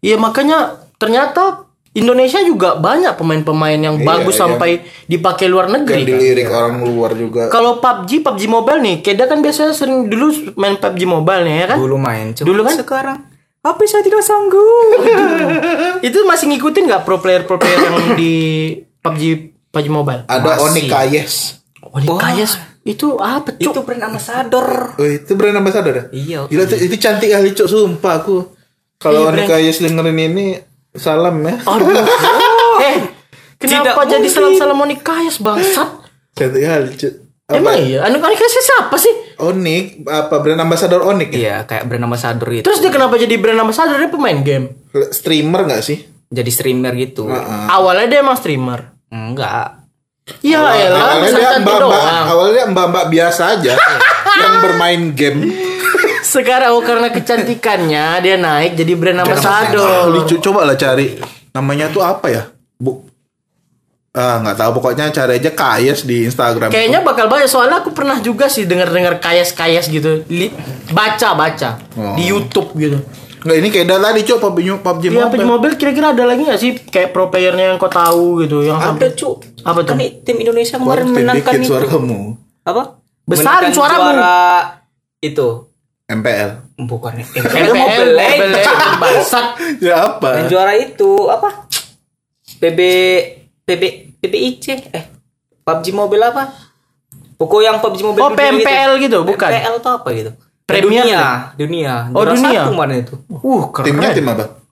Speaker 1: Iya makanya ternyata Indonesia juga banyak pemain-pemain yang
Speaker 2: Iya,
Speaker 1: bagus
Speaker 2: yang-
Speaker 1: sampai dipakai luar negeri.
Speaker 2: Yang
Speaker 1: kan.
Speaker 2: dilirik orang luar juga.
Speaker 1: Kalau PUBG, PUBG Mobile nih, Keda kan biasanya sering dulu main PUBG Mobile nih ya kan?
Speaker 3: Dulu main. Cuma
Speaker 1: Dulu kan?
Speaker 3: sekarang apa saya tidak sanggup?
Speaker 1: Itu masih ngikutin nggak pro player pro player yang di PUBG PUBG Mobile?
Speaker 2: Ada
Speaker 3: Masih.
Speaker 2: Onik Kayes.
Speaker 1: Oh, di Kayes itu apa cuk?
Speaker 3: Itu brand ambassador.
Speaker 2: Oh, itu brand ambassador ya?
Speaker 3: Iya.
Speaker 2: Gila, itu, itu cantik kali cok, sumpah aku. Kalau
Speaker 1: Iya,
Speaker 2: Onika Yes dengerin ini, salam ya.
Speaker 1: Aduh. eh, kenapa
Speaker 3: Tidak
Speaker 1: jadi
Speaker 3: mungkin.
Speaker 1: salam-salam Oni Kayes bangsat?
Speaker 2: Cantik kali cok. Apa?
Speaker 1: Emang iya, Anu Oni Kayes siapa sih?
Speaker 2: Onik, apa brand ambassador Onik ya?
Speaker 3: Iya, kayak brand ambassador gitu.
Speaker 1: Terus dia kenapa jadi brand ambassador dia pemain game?
Speaker 2: Streamer gak sih?
Speaker 3: Jadi streamer gitu.
Speaker 1: Awalnya dia emang streamer.
Speaker 3: Enggak.
Speaker 1: Ya
Speaker 2: Nah,
Speaker 1: elah,
Speaker 2: awalnya
Speaker 1: pesan
Speaker 2: dia
Speaker 1: cantik
Speaker 2: mbak mbak,
Speaker 1: doang.
Speaker 2: awalnya dia mbak mbak biasa aja yang bermain game.
Speaker 1: Sekarang oh, karena kecantikannya dia naik jadi brand
Speaker 2: Ah,
Speaker 1: ambassador.
Speaker 2: lucu, coba lah cari namanya tuh apa ya? Bu, ah nggak tahu pokoknya cari aja Kayes di Instagram.
Speaker 1: Kayaknya bakal banyak soalnya aku pernah juga sih dengar-dengar kayas-kayas gitu. Li- baca baca
Speaker 2: Oh.
Speaker 1: di YouTube gitu.
Speaker 2: Nggak ini kayak tadi cok PUBG, PUBG
Speaker 1: Iya,
Speaker 2: Mobile.
Speaker 1: PUBG Mobile kira-kira ada lagi gak sih kayak pro playernya yang kau tahu gitu yang
Speaker 3: Ada,
Speaker 1: sampai
Speaker 3: Cuk.
Speaker 1: Apa tuh?
Speaker 3: Kan i- tim Indonesia kemarin
Speaker 2: Keluarin
Speaker 3: menangkan
Speaker 2: dikit
Speaker 3: itu.
Speaker 2: suaramu.
Speaker 3: Apa?
Speaker 1: Besarin
Speaker 3: Menangkan
Speaker 1: suaramu.
Speaker 3: Juara itu.
Speaker 2: MPL.
Speaker 3: Bukan eh,
Speaker 1: MPL,
Speaker 3: Mobile Legends.
Speaker 1: Mobile Legends, bangsat.
Speaker 2: Ya apa?
Speaker 1: Eh.
Speaker 3: Yang juara itu apa? PB PB PBIC eh PUBG Mobile apa? Pokok yang PUBG Mobile
Speaker 1: Oh,
Speaker 3: dunia gitu.
Speaker 1: PMPL gitu, bukan?
Speaker 3: PMPL tuh apa gitu?
Speaker 1: Premier
Speaker 3: dunia, dunia.
Speaker 1: Oh,
Speaker 3: Juara
Speaker 1: dunia.
Speaker 3: Satu mana itu?
Speaker 1: Uh, keren.
Speaker 2: Timnya tim apa?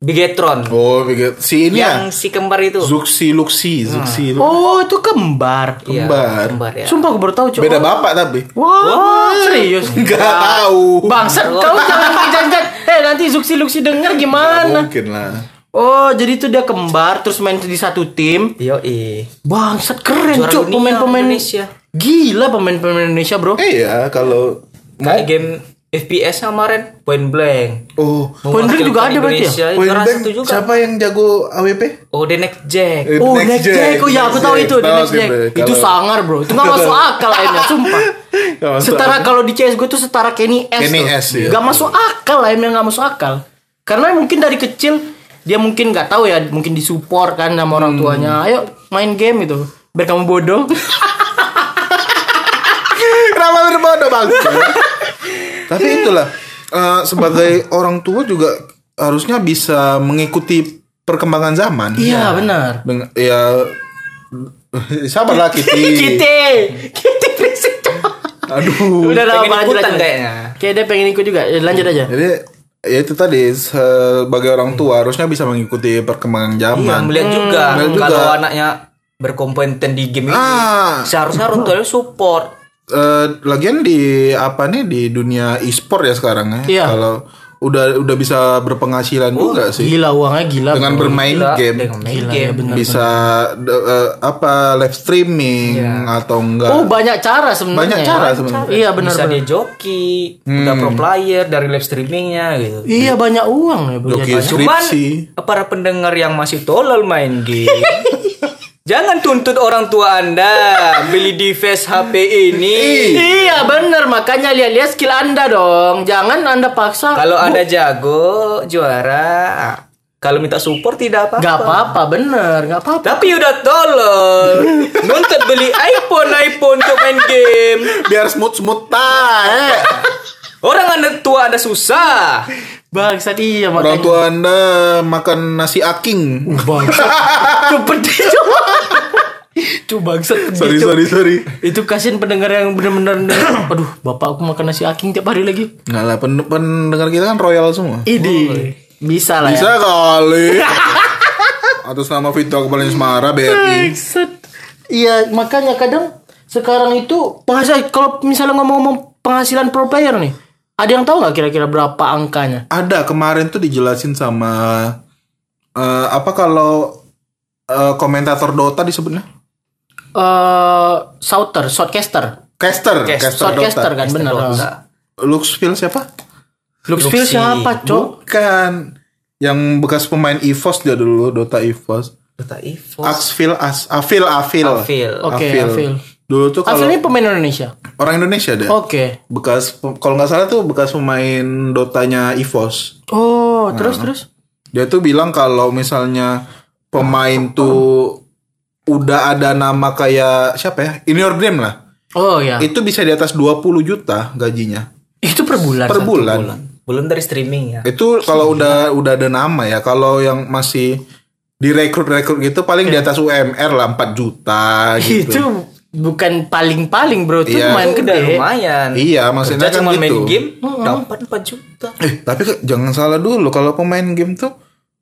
Speaker 3: Bigetron.
Speaker 2: Oh, begitu. Si ini
Speaker 3: yang
Speaker 2: ya.
Speaker 3: si Ah. kembar itu.
Speaker 2: Zuxi Luxi, Zuxi Lu-
Speaker 1: Oh, itu kembar.
Speaker 3: Iya,
Speaker 2: kembar.
Speaker 3: kembar ya.
Speaker 1: Sumpah aku baru tahu, Cuk.
Speaker 2: Beda bapak tapi.
Speaker 1: Wah, serius.
Speaker 3: Iya.
Speaker 2: Enggak tahu.
Speaker 1: Bangsat kau jangan jangan. Eh, nanti Zuxi Luxi denger
Speaker 2: Nggak
Speaker 1: gimana?
Speaker 2: Mungkin lah.
Speaker 1: Oh, jadi itu dia kembar terus main di satu tim.
Speaker 3: Yo,
Speaker 1: Bangsat keren,
Speaker 3: Juara
Speaker 1: Cuk,
Speaker 3: dunia
Speaker 1: pemain-pemain
Speaker 3: Indonesia.
Speaker 1: Gila pemain-pemain Indonesia, Bro.
Speaker 2: Eh ya kalau mau
Speaker 3: Kayak game FPS kemarin Point Blank.
Speaker 2: Oh,
Speaker 1: Point Blank juga ada berarti ya?
Speaker 3: Indonesia,
Speaker 2: Point
Speaker 3: juara
Speaker 2: Blank,
Speaker 3: satu juga.
Speaker 2: siapa yang jago AWP?
Speaker 3: Oh, The Next Jack.
Speaker 2: Eh,
Speaker 1: Oh,
Speaker 2: The
Speaker 1: Next Jack. Oh ya, aku tahu itu, The
Speaker 2: Tahu
Speaker 1: Next
Speaker 2: sih,
Speaker 1: Jack.
Speaker 2: Bro.
Speaker 1: Itu
Speaker 2: Kalau-
Speaker 1: sangar, Bro. Itu nggak masuk akal lainnya, sumpah.
Speaker 2: Nggak masuk
Speaker 1: Setara kalau di CS gue tuh setara Kenny S.
Speaker 2: Kenny
Speaker 1: tuh.
Speaker 2: S, iya.
Speaker 1: Nggak masuk akal lah, emang nggak masuk akal. Karena mungkin dari kecil dia mungkin nggak tahu ya, mungkin disupport kan sama
Speaker 2: Hmm.
Speaker 1: orang tuanya. Ayo main game gitu. Biar kamu bodoh.
Speaker 2: Kenapa berbodoh bang? Tapi itulah eh, sebagai orang tua juga harusnya bisa mengikuti perkembangan zaman.
Speaker 1: Iya, benar.
Speaker 2: Dengan, ya sabarlah Kitty.
Speaker 1: Kite. Kite berisik.
Speaker 2: Aduh.
Speaker 1: Udah lah,
Speaker 3: Pengen
Speaker 1: lanjut
Speaker 3: ikutan
Speaker 1: lanjut.
Speaker 3: kayaknya.
Speaker 1: Kayak dia pengen ikut juga. Ya, Lanjut aja.
Speaker 2: Jadi ya itu tadi sebagai orang tua harusnya bisa mengikuti perkembangan
Speaker 3: Iya,
Speaker 2: zaman.
Speaker 3: melihat juga
Speaker 2: Hmm. melihat juga.
Speaker 3: kalau anaknya berkompeten di game ini
Speaker 2: Ah,
Speaker 3: seharusnya orang tuanya support.
Speaker 2: eh, lagian di apa nih di dunia e-sport ya sekarang ya.
Speaker 1: Iya. Oh,
Speaker 2: Kalau udah udah bisa berpenghasilan juga sih
Speaker 1: Gila uangnya gila.
Speaker 2: dengan
Speaker 1: bro.
Speaker 2: bermain
Speaker 3: Gila,
Speaker 2: game.
Speaker 3: Ah, dengan main
Speaker 1: Gila,
Speaker 3: game.
Speaker 1: ya bener.
Speaker 2: bisa de- eh, apa live streaming atau enggak
Speaker 1: Iya. Oh banyak cara sebenarnya.
Speaker 2: Banyak
Speaker 1: ya.
Speaker 2: cara sebenarnya.
Speaker 1: Iya benar
Speaker 3: Bisa
Speaker 1: benar.
Speaker 3: dia joki,
Speaker 2: Hmm.
Speaker 3: udah pro player dari live streamingnya gitu.
Speaker 1: Iya banyak uang ya. Bu.
Speaker 2: Joki
Speaker 3: Cuman
Speaker 2: skripsi
Speaker 3: para pendengar yang masih tolol main game. Jangan tuntut orang tua Anda beli device HP ini.
Speaker 1: Iya benar makanya lihat-lihat skill anda dong. Jangan anda paksa.
Speaker 3: Kalau Anda jago, juara, kalau minta support tidak apa-apa.
Speaker 1: Gak apa-apa bener gak apa-apa.
Speaker 3: Tapi udah tolol. Nuntut beli iPhone iPhone untuk main game.
Speaker 2: biar eh. smooth smooth tay
Speaker 3: Orang anda tua anda
Speaker 2: Ah.
Speaker 3: susah.
Speaker 1: Bangsat iya
Speaker 2: orang
Speaker 1: makanya.
Speaker 2: tua anda makan nasi aking
Speaker 1: Bangsat. Itu pedih coba. Itu bangsat pedih,
Speaker 2: sorry
Speaker 1: cu.
Speaker 2: sorry sorry
Speaker 1: Itu kasihan pendengar yang benar-benar aduh bapak aku makan nasi aking tiap hari lagi.
Speaker 2: nggak lah pen- pendengar kita kan royal semua
Speaker 1: Ide. Bisa lah ya.
Speaker 2: bisa kali atas nama Vito kepala Semara BRI
Speaker 1: Bangsat. Iya, makanya kadang sekarang itu penghasilan kalau misalnya ngomong-ngomong penghasilan pro player nih, ada yang tahu nggak kira-kira berapa angkanya?
Speaker 2: ada kemarin tuh dijelasin sama eh, apa kalau eh, komentator Dota disebutnya
Speaker 1: Eh, shouter, shortcaster,
Speaker 2: caster caster
Speaker 1: shortcaster
Speaker 2: Dota
Speaker 1: kan benar.
Speaker 3: Oh,
Speaker 2: Luxville siapa
Speaker 1: Luxville siapa, Cok?
Speaker 2: Bukan. Yang bekas pemain EVOS dia dulu Dota EVOS.
Speaker 3: Kata Ivo.
Speaker 2: Axville As Afil Afil.
Speaker 3: Afil.
Speaker 2: Oh,
Speaker 1: Oke, Afil.
Speaker 2: Dulu tuh
Speaker 1: Asli
Speaker 2: kalau Iya.
Speaker 1: ini pemain Indonesia.
Speaker 2: orang Indonesia deh.
Speaker 1: Oke.
Speaker 2: Bekas kalau nggak salah tuh bekas pemain Dotanya EVOS.
Speaker 1: Oh,
Speaker 2: Nah.
Speaker 1: terus terus.
Speaker 2: Dia tuh bilang kalau misalnya
Speaker 3: Nah,
Speaker 2: pemain tuh udah ada nama kayak siapa ya? In Your Dream lah.
Speaker 1: Oh
Speaker 3: Nah.
Speaker 1: ya.
Speaker 2: Itu bisa di atas 20 juta gajinya
Speaker 1: Itu per bulan.
Speaker 2: per
Speaker 1: San.
Speaker 2: bulan.
Speaker 3: Belum dari streaming ya.
Speaker 2: Itu kalau udah udah ada nama ya. Kalau yang masih direkrut-rekrut gitu paling
Speaker 3: Iya.
Speaker 2: di atas UMR lah 4 juta
Speaker 1: Itu
Speaker 2: gitu.
Speaker 1: bukan paling-paling, Bro. Itu
Speaker 2: Iya.
Speaker 1: lumayan
Speaker 3: Itu
Speaker 1: gede.
Speaker 3: udah Kan lumayan.
Speaker 2: Iya, maksudnya
Speaker 3: Kerja
Speaker 2: kan
Speaker 3: cuma
Speaker 2: gitu.
Speaker 3: main game dapat 4 juta.
Speaker 2: Eh, tapi ke- jangan salah dulu kalau pemain game tuh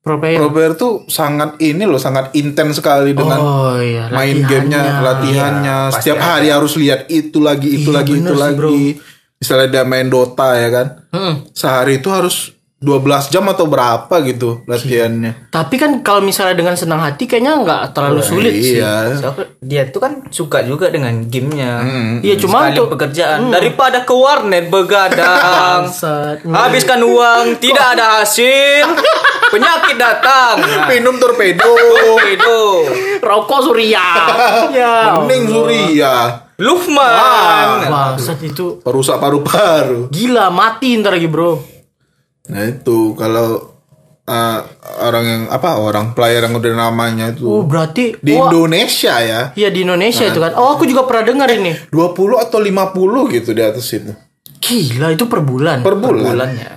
Speaker 1: Pro player.
Speaker 2: Robert tuh sangat ini loh, sangat intens sekali dengan
Speaker 1: Iya. Oh iya. Iya,
Speaker 2: main
Speaker 1: latihannya.
Speaker 2: gamenya, latihannya. Setiap hari harus lihat itu lagi, itu lagi, itu lagi. Misalnya dia main Dota ya kan.
Speaker 1: Mm-mm.
Speaker 2: Sehari itu harus 12 jam atau berapa gitu latihannya.
Speaker 1: Tapi kan kalau misalnya dengan senang hati kayaknya nggak terlalu sulit sih.
Speaker 2: iya.
Speaker 3: Soalnya dia tuh kan suka juga dengan gamenya.
Speaker 1: Iya
Speaker 2: Hmm.
Speaker 1: cuma
Speaker 3: Sekali
Speaker 1: untuk
Speaker 3: pekerjaan
Speaker 2: Mm.
Speaker 3: daripada ke warnet begadang.
Speaker 1: Bangsat.
Speaker 3: Habiskan uang, tidak ada hasil. Penyakit datang. Nah,
Speaker 2: Minum torpedo.
Speaker 3: Itu.
Speaker 1: rokok Surya. ya.
Speaker 2: Mending Surya.
Speaker 3: Lufman.
Speaker 1: Bangsat itu
Speaker 2: Perusak paru-paru.
Speaker 1: gila mati ntar lagi, Bro.
Speaker 2: Nah itu kalau eh, orang yang apa orang player yang udah namanya
Speaker 1: Oh,
Speaker 2: itu
Speaker 1: berarti
Speaker 2: di
Speaker 1: wah,
Speaker 2: Indonesia ya
Speaker 1: Iya di Indonesia itu kan. Oh, aku juga pernah dengar ini.
Speaker 2: 20 atau 50 gitu di atas itu
Speaker 1: Gila itu per bulan. ya?
Speaker 2: per bulan.
Speaker 3: Bulannya.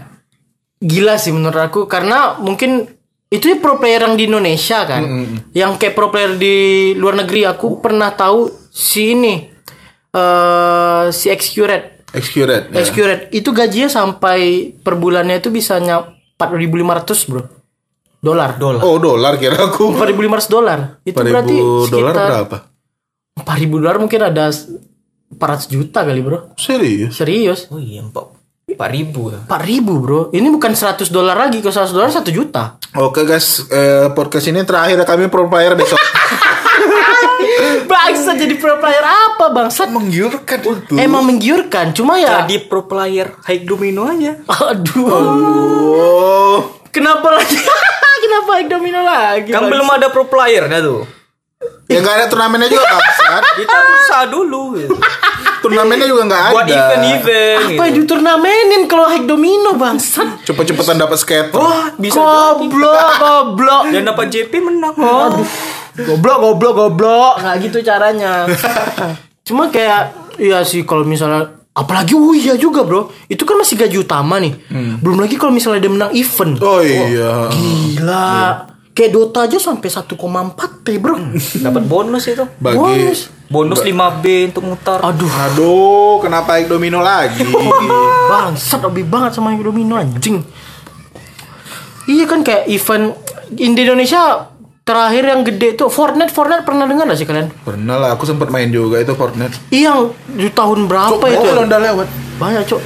Speaker 1: Gila sih menurut aku karena mungkin itu ya pro player yang di Indonesia kan. Yang kayak pro player di luar negeri aku pernah tahu si ini eh si Xcuret.
Speaker 2: Accurate. ya.
Speaker 1: Accurate. Itu gajinya sampai per bulannya itu bisa nyampe 4.500, Bro. Dolar. Dolar.
Speaker 2: Oh dolar kira aku.
Speaker 1: 4.500 dolar. Itu berarti
Speaker 2: 4000 dolar
Speaker 1: sekitar
Speaker 2: berapa?
Speaker 1: 4.000 dolar mungkin ada 400 juta kali, Bro.
Speaker 2: Serius?
Speaker 1: Serius.
Speaker 3: Oh iya, Pak. Pak ribu ya.
Speaker 1: 4.000, Bro. Ini bukan 100 dolar lagi, kalau 100 dolar 1 juta.
Speaker 2: Oke guys, eh, podcast ini terakhir kami pro player besok.
Speaker 1: Bangsa jadi pro player apa, bangsat?
Speaker 2: Menggiurkan itu.
Speaker 1: Emang menggiurkan, cuma ya
Speaker 3: Jadi pro player high domino aja.
Speaker 1: aduh.
Speaker 2: Oh,
Speaker 1: Kenapa lagi? Kenapa yang domino lagi?
Speaker 3: Kan
Speaker 1: Bang?
Speaker 3: belum ada pro player dah tuh.
Speaker 2: ya nggak ada turnamennya juga bangsat.
Speaker 3: Kita
Speaker 1: Ah.
Speaker 3: usaha dulu. gitu.
Speaker 2: Turnamennya juga nggak ada.
Speaker 3: Buat event-event.
Speaker 1: apa
Speaker 3: gitu.
Speaker 1: yang diturnamenin kalau high domino, bangsat?
Speaker 2: Cepet-cepetan dapat skater.
Speaker 3: Bisa
Speaker 1: Goblok, goblok.
Speaker 3: jadi. Dan dapat JP menang. Oh. Aduh.
Speaker 1: goblok goblok goblok nggak gitu caranya cuma kayak iya sih kalau misalnya apalagi oh iya juga bro itu kan masih gaji utama nih belum lagi kalau misalnya dia menang event
Speaker 2: Hmm. Oh iya.
Speaker 1: gila kayak Dota aja sampai 1,4 t bro
Speaker 3: Dapat bonus itu.
Speaker 2: Bagi
Speaker 1: Bonus.
Speaker 3: Bonus 5B untuk mutar.
Speaker 1: aduh
Speaker 2: Aduh, kenapa Ek Domino lagi?
Speaker 1: bangsat lebih banget sama yang domino anjing Iya kan kayak event di Indonesia terakhir yang gede tuh Fortnite Fortnite pernah dengar gak sih kalian?
Speaker 2: Pernah lah, aku sempat main juga itu Fortnite.
Speaker 1: Iya, yang di tahun berapa
Speaker 2: Oh,
Speaker 1: itu?
Speaker 2: kalau udah lewat.
Speaker 1: Banyak cok.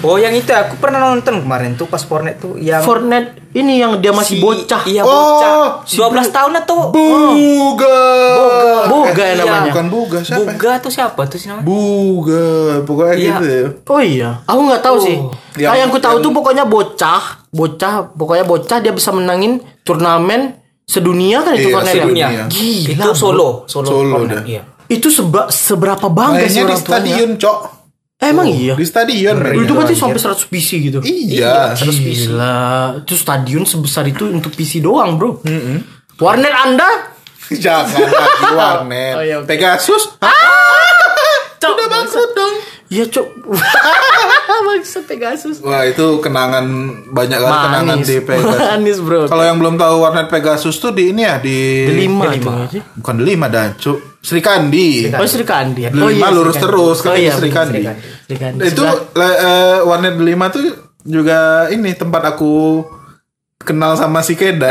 Speaker 3: Oh yang itu aku pernah nonton kemarin tuh pas Fortnite tuh yang
Speaker 1: Fortnite ini yang dia masih
Speaker 3: si-
Speaker 1: bocah.
Speaker 3: Iya
Speaker 2: Oh,
Speaker 3: bocah.
Speaker 2: si
Speaker 3: 12 tahun atau
Speaker 2: Buga. Eh,
Speaker 1: Boga ya
Speaker 3: Iya.
Speaker 1: namanya.
Speaker 2: Bukan Buga siapa? ya?
Speaker 3: Buga tuh siapa tuh sih namanya?
Speaker 2: Buga, pokoknya
Speaker 3: Iya.
Speaker 2: gitu ya.
Speaker 1: Oh iya, aku nggak tahu sih.
Speaker 2: Oh, Yang-
Speaker 1: ah, yang ku tahu tuh pokoknya bocah, bocah, pokoknya bocah dia bisa menangin turnamen sedunia kan itu
Speaker 2: Iya,
Speaker 3: Eh,
Speaker 1: Fortnite. ya?
Speaker 2: sedunia.
Speaker 1: Gila.
Speaker 3: itu solo, solo,
Speaker 2: Solo
Speaker 3: Fortnite,
Speaker 2: dah.
Speaker 3: Iya.
Speaker 1: Itu seba- seberapa bangga sih
Speaker 2: Mainnya di
Speaker 1: orang tuanya.
Speaker 2: stadion, Cok.
Speaker 1: Eh, emang iya.
Speaker 2: Di stadion mainnya. kan
Speaker 1: itu berarti sampai 100 PC gitu.
Speaker 2: Iya.
Speaker 1: Gila, itu stadion sebesar itu untuk PC doang, Bro. Warnet Anda?
Speaker 2: Jangan lagi warnet.
Speaker 1: Oh, iya, oke.
Speaker 2: Pegasus. Ah,
Speaker 1: Cok,
Speaker 2: udah bangkrut dong.
Speaker 1: Iya, Cok. Maksud Pegasus.
Speaker 2: Wah, itu kenangan banyak banget kenangan
Speaker 1: Manis.
Speaker 2: di Pegasus.
Speaker 1: Manis, Bro.
Speaker 2: Kalau yang belum tahu warnet Pegasus tuh di ini ya di
Speaker 1: Delima
Speaker 3: Delima.
Speaker 1: tuh.
Speaker 2: Bukan delima dan Cuk. Sri Kandi.
Speaker 1: Oh, Sri Kandi.
Speaker 2: Delima
Speaker 1: Oh, iya,
Speaker 2: lurus
Speaker 1: Sri Kandi.
Speaker 2: terus
Speaker 1: Oh,
Speaker 2: ketemu
Speaker 1: iya,
Speaker 2: Sri
Speaker 1: betul,
Speaker 2: Kandi. Nah,
Speaker 1: Sri Kandi.
Speaker 2: Itu
Speaker 1: Sebelah-
Speaker 2: le- eh, warnet delima tuh juga ini tempat aku kenal sama si Keda.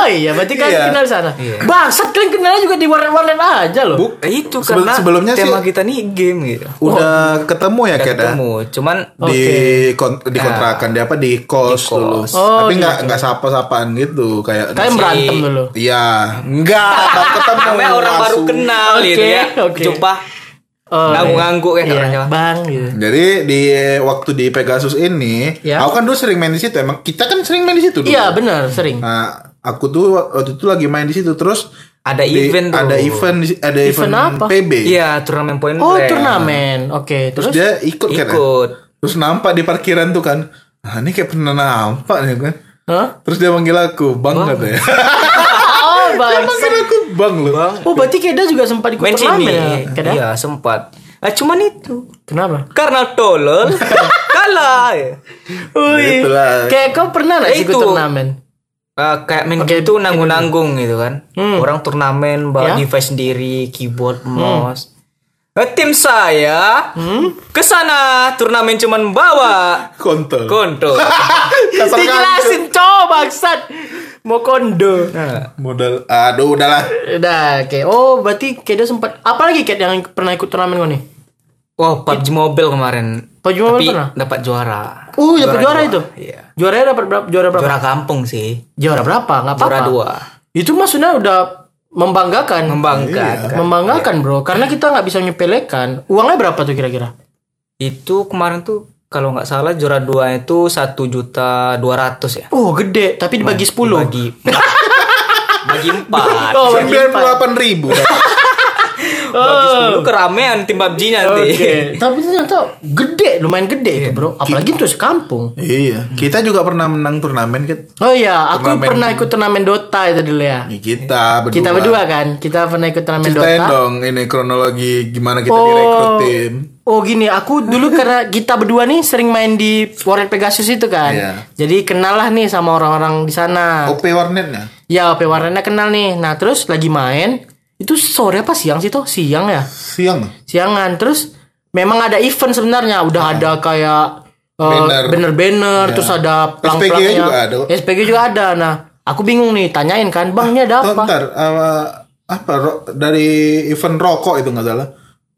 Speaker 1: Oh iya, berarti kalian
Speaker 2: Iya.
Speaker 1: kenal di sana.
Speaker 3: Iya.
Speaker 1: Bangsat kalian kenalnya juga di warnet-warnet aja loh.
Speaker 2: Buk-
Speaker 3: Eh, itu
Speaker 2: Sebe-
Speaker 3: karena
Speaker 2: sebelumnya sih-
Speaker 3: tema kita nih game gitu.
Speaker 2: Udah Oh, ketemu ya
Speaker 3: Udah
Speaker 2: Keda?
Speaker 3: ketemu, cuman
Speaker 2: di kon- di kontrakan di apa di kos
Speaker 3: Ah. Di kos.
Speaker 2: dulu.
Speaker 1: Oh,
Speaker 2: Tapi nggak
Speaker 1: gitu.
Speaker 2: nggak sapa-sapaan gitu kayak
Speaker 1: Kalian berantem dulu.
Speaker 2: Iya, enggak baru ketemu
Speaker 3: namanya orang baru
Speaker 2: langsung.
Speaker 3: kenal
Speaker 1: Oke,
Speaker 3: gitu ya.
Speaker 1: oke.
Speaker 3: Jumpa.
Speaker 1: Oh,
Speaker 3: Ngangguk-ngangguk
Speaker 2: ya,
Speaker 3: kan
Speaker 1: iya.
Speaker 3: orangnya.
Speaker 1: Bang gitu.
Speaker 2: Jadi di waktu di Pegasus ini,
Speaker 1: Ya.
Speaker 2: aku kan dulu sering main di situ. Emang kita kan sering main di situ dulu.
Speaker 1: Iya, benar, sering.
Speaker 2: Nah, aku tuh waktu itu lagi main di situ terus
Speaker 3: Ada
Speaker 2: di-
Speaker 3: event tuh.
Speaker 2: ada event di- ada
Speaker 1: Event
Speaker 2: event,
Speaker 1: apa?
Speaker 2: PB.
Speaker 3: Iya, turnamen point
Speaker 1: Oh,
Speaker 3: blank.
Speaker 1: turnamen. Oke, terus
Speaker 2: Terus dia ikut, kan. ya?
Speaker 3: Ikut.
Speaker 2: Terus nampak di parkiran tuh kan. Ah, ini kayak pernah nampak nih kan.
Speaker 1: Hah?
Speaker 2: Terus dia manggil aku, "Bang," katanya.
Speaker 1: Oh,
Speaker 2: Ah, dia
Speaker 1: bang.
Speaker 2: manggil aku, "Bang" loh.
Speaker 1: Oh, berarti Keda juga sempat ikut
Speaker 3: Main sini.
Speaker 1: turnamen ya? Keda?
Speaker 3: Iya, sempat. Ah, cuman itu.
Speaker 1: Kenapa?
Speaker 3: Karena tolol kalah.
Speaker 1: Wih,
Speaker 2: Itulah.
Speaker 1: kayak kau pernah nggak
Speaker 3: Ya
Speaker 1: sih ikut
Speaker 3: itu.
Speaker 1: turnamen?
Speaker 3: Eh, kayak main
Speaker 1: Oke, Hmm.
Speaker 3: gitu nanggung-nanggung gitu kan. Orang turnamen
Speaker 1: Ya.
Speaker 3: bawa
Speaker 1: Hmm.
Speaker 3: device sendiri, keyboard, mouse. Eh, tim saya kesana turnamen cuman bawa
Speaker 2: Kontol.
Speaker 3: kontol.
Speaker 2: Kasar kan,
Speaker 1: Dijelasin cowok bangsat. Mau kondo.
Speaker 3: Eh,
Speaker 2: Cuk. Modal. Aduh, udahlah.
Speaker 1: Udah, oke. Oh, berarti Keda sempat apalagi Ked yang pernah ikut turnamen kau nih?
Speaker 3: Wah, PUBG Mobile kemarin.
Speaker 1: PUBG Mobile
Speaker 3: Tapi
Speaker 1: pernah?
Speaker 3: dapat juara.
Speaker 1: Oh, dapat juara,
Speaker 3: Juara dua,
Speaker 1: itu.
Speaker 3: iya.
Speaker 1: Juaranya dapat berapa? Juara berapa?
Speaker 3: Juara kampung sih.
Speaker 1: Juara berapa? Nggak apa-apa.
Speaker 3: Juara dua.
Speaker 1: Itu maksudnya udah membanggakan. Iya.
Speaker 3: Membanggakan.
Speaker 1: membanggakan, Bro. Karena kita nggak bisa menyepelekan. Uangnya berapa tuh kira-kira?
Speaker 3: Itu kemarin tuh kalau nggak salah juara dua itu satu juta dua ratus ya.
Speaker 1: Oh, gede, tapi dibagi 10.
Speaker 3: Bagi bagi empat.
Speaker 1: Oh, bagi
Speaker 2: Sembilan
Speaker 1: empat.
Speaker 2: ribu.
Speaker 3: Bagi sepuluh keramaian tim PUBG nanti.
Speaker 1: Oh. Oke. Iya. Tapi ternyata gede, lumayan gede itu, Bro. Apalagi itu sekampung.
Speaker 2: iya. Kita juga pernah menang turnamen kan.
Speaker 1: Oh iya, aku
Speaker 2: Turnamen.
Speaker 1: pernah ikut turnamen Dota itu dulu ya.
Speaker 2: Ya, Kita berdua.
Speaker 1: Kita berdua kan, kita pernah ikut turnamen
Speaker 2: Ceritain
Speaker 1: Dota.
Speaker 2: dong ini kronologi gimana kita direkrut tim.
Speaker 1: Oh gini, aku dulu karena kita berdua nih sering main di Warnet Pegasus itu kan.
Speaker 2: Iya. Oh.
Speaker 1: Jadi kenal lah nih sama orang-orang di sana.
Speaker 2: OP warnetnya.
Speaker 1: Ya, OP Warnetnya kenal nih. Nah, terus lagi main, itu sore apa siang sih tuh? Siang ya?
Speaker 2: Siang.
Speaker 1: Siangan. Terus memang ada event sebenarnya, udah ada kayak eh,
Speaker 2: Iya. Banner. Iya.
Speaker 1: banner-banner, terus ada
Speaker 2: SPG
Speaker 1: pelang-pelangnya.
Speaker 2: juga ada.
Speaker 1: SPG juga ada. Nah, aku bingung nih, tanyain kan, "Bang, ini ada
Speaker 2: Tuh,
Speaker 1: apa?"
Speaker 2: Ntar eh, apa ro- dari event rokok itu nggak salah.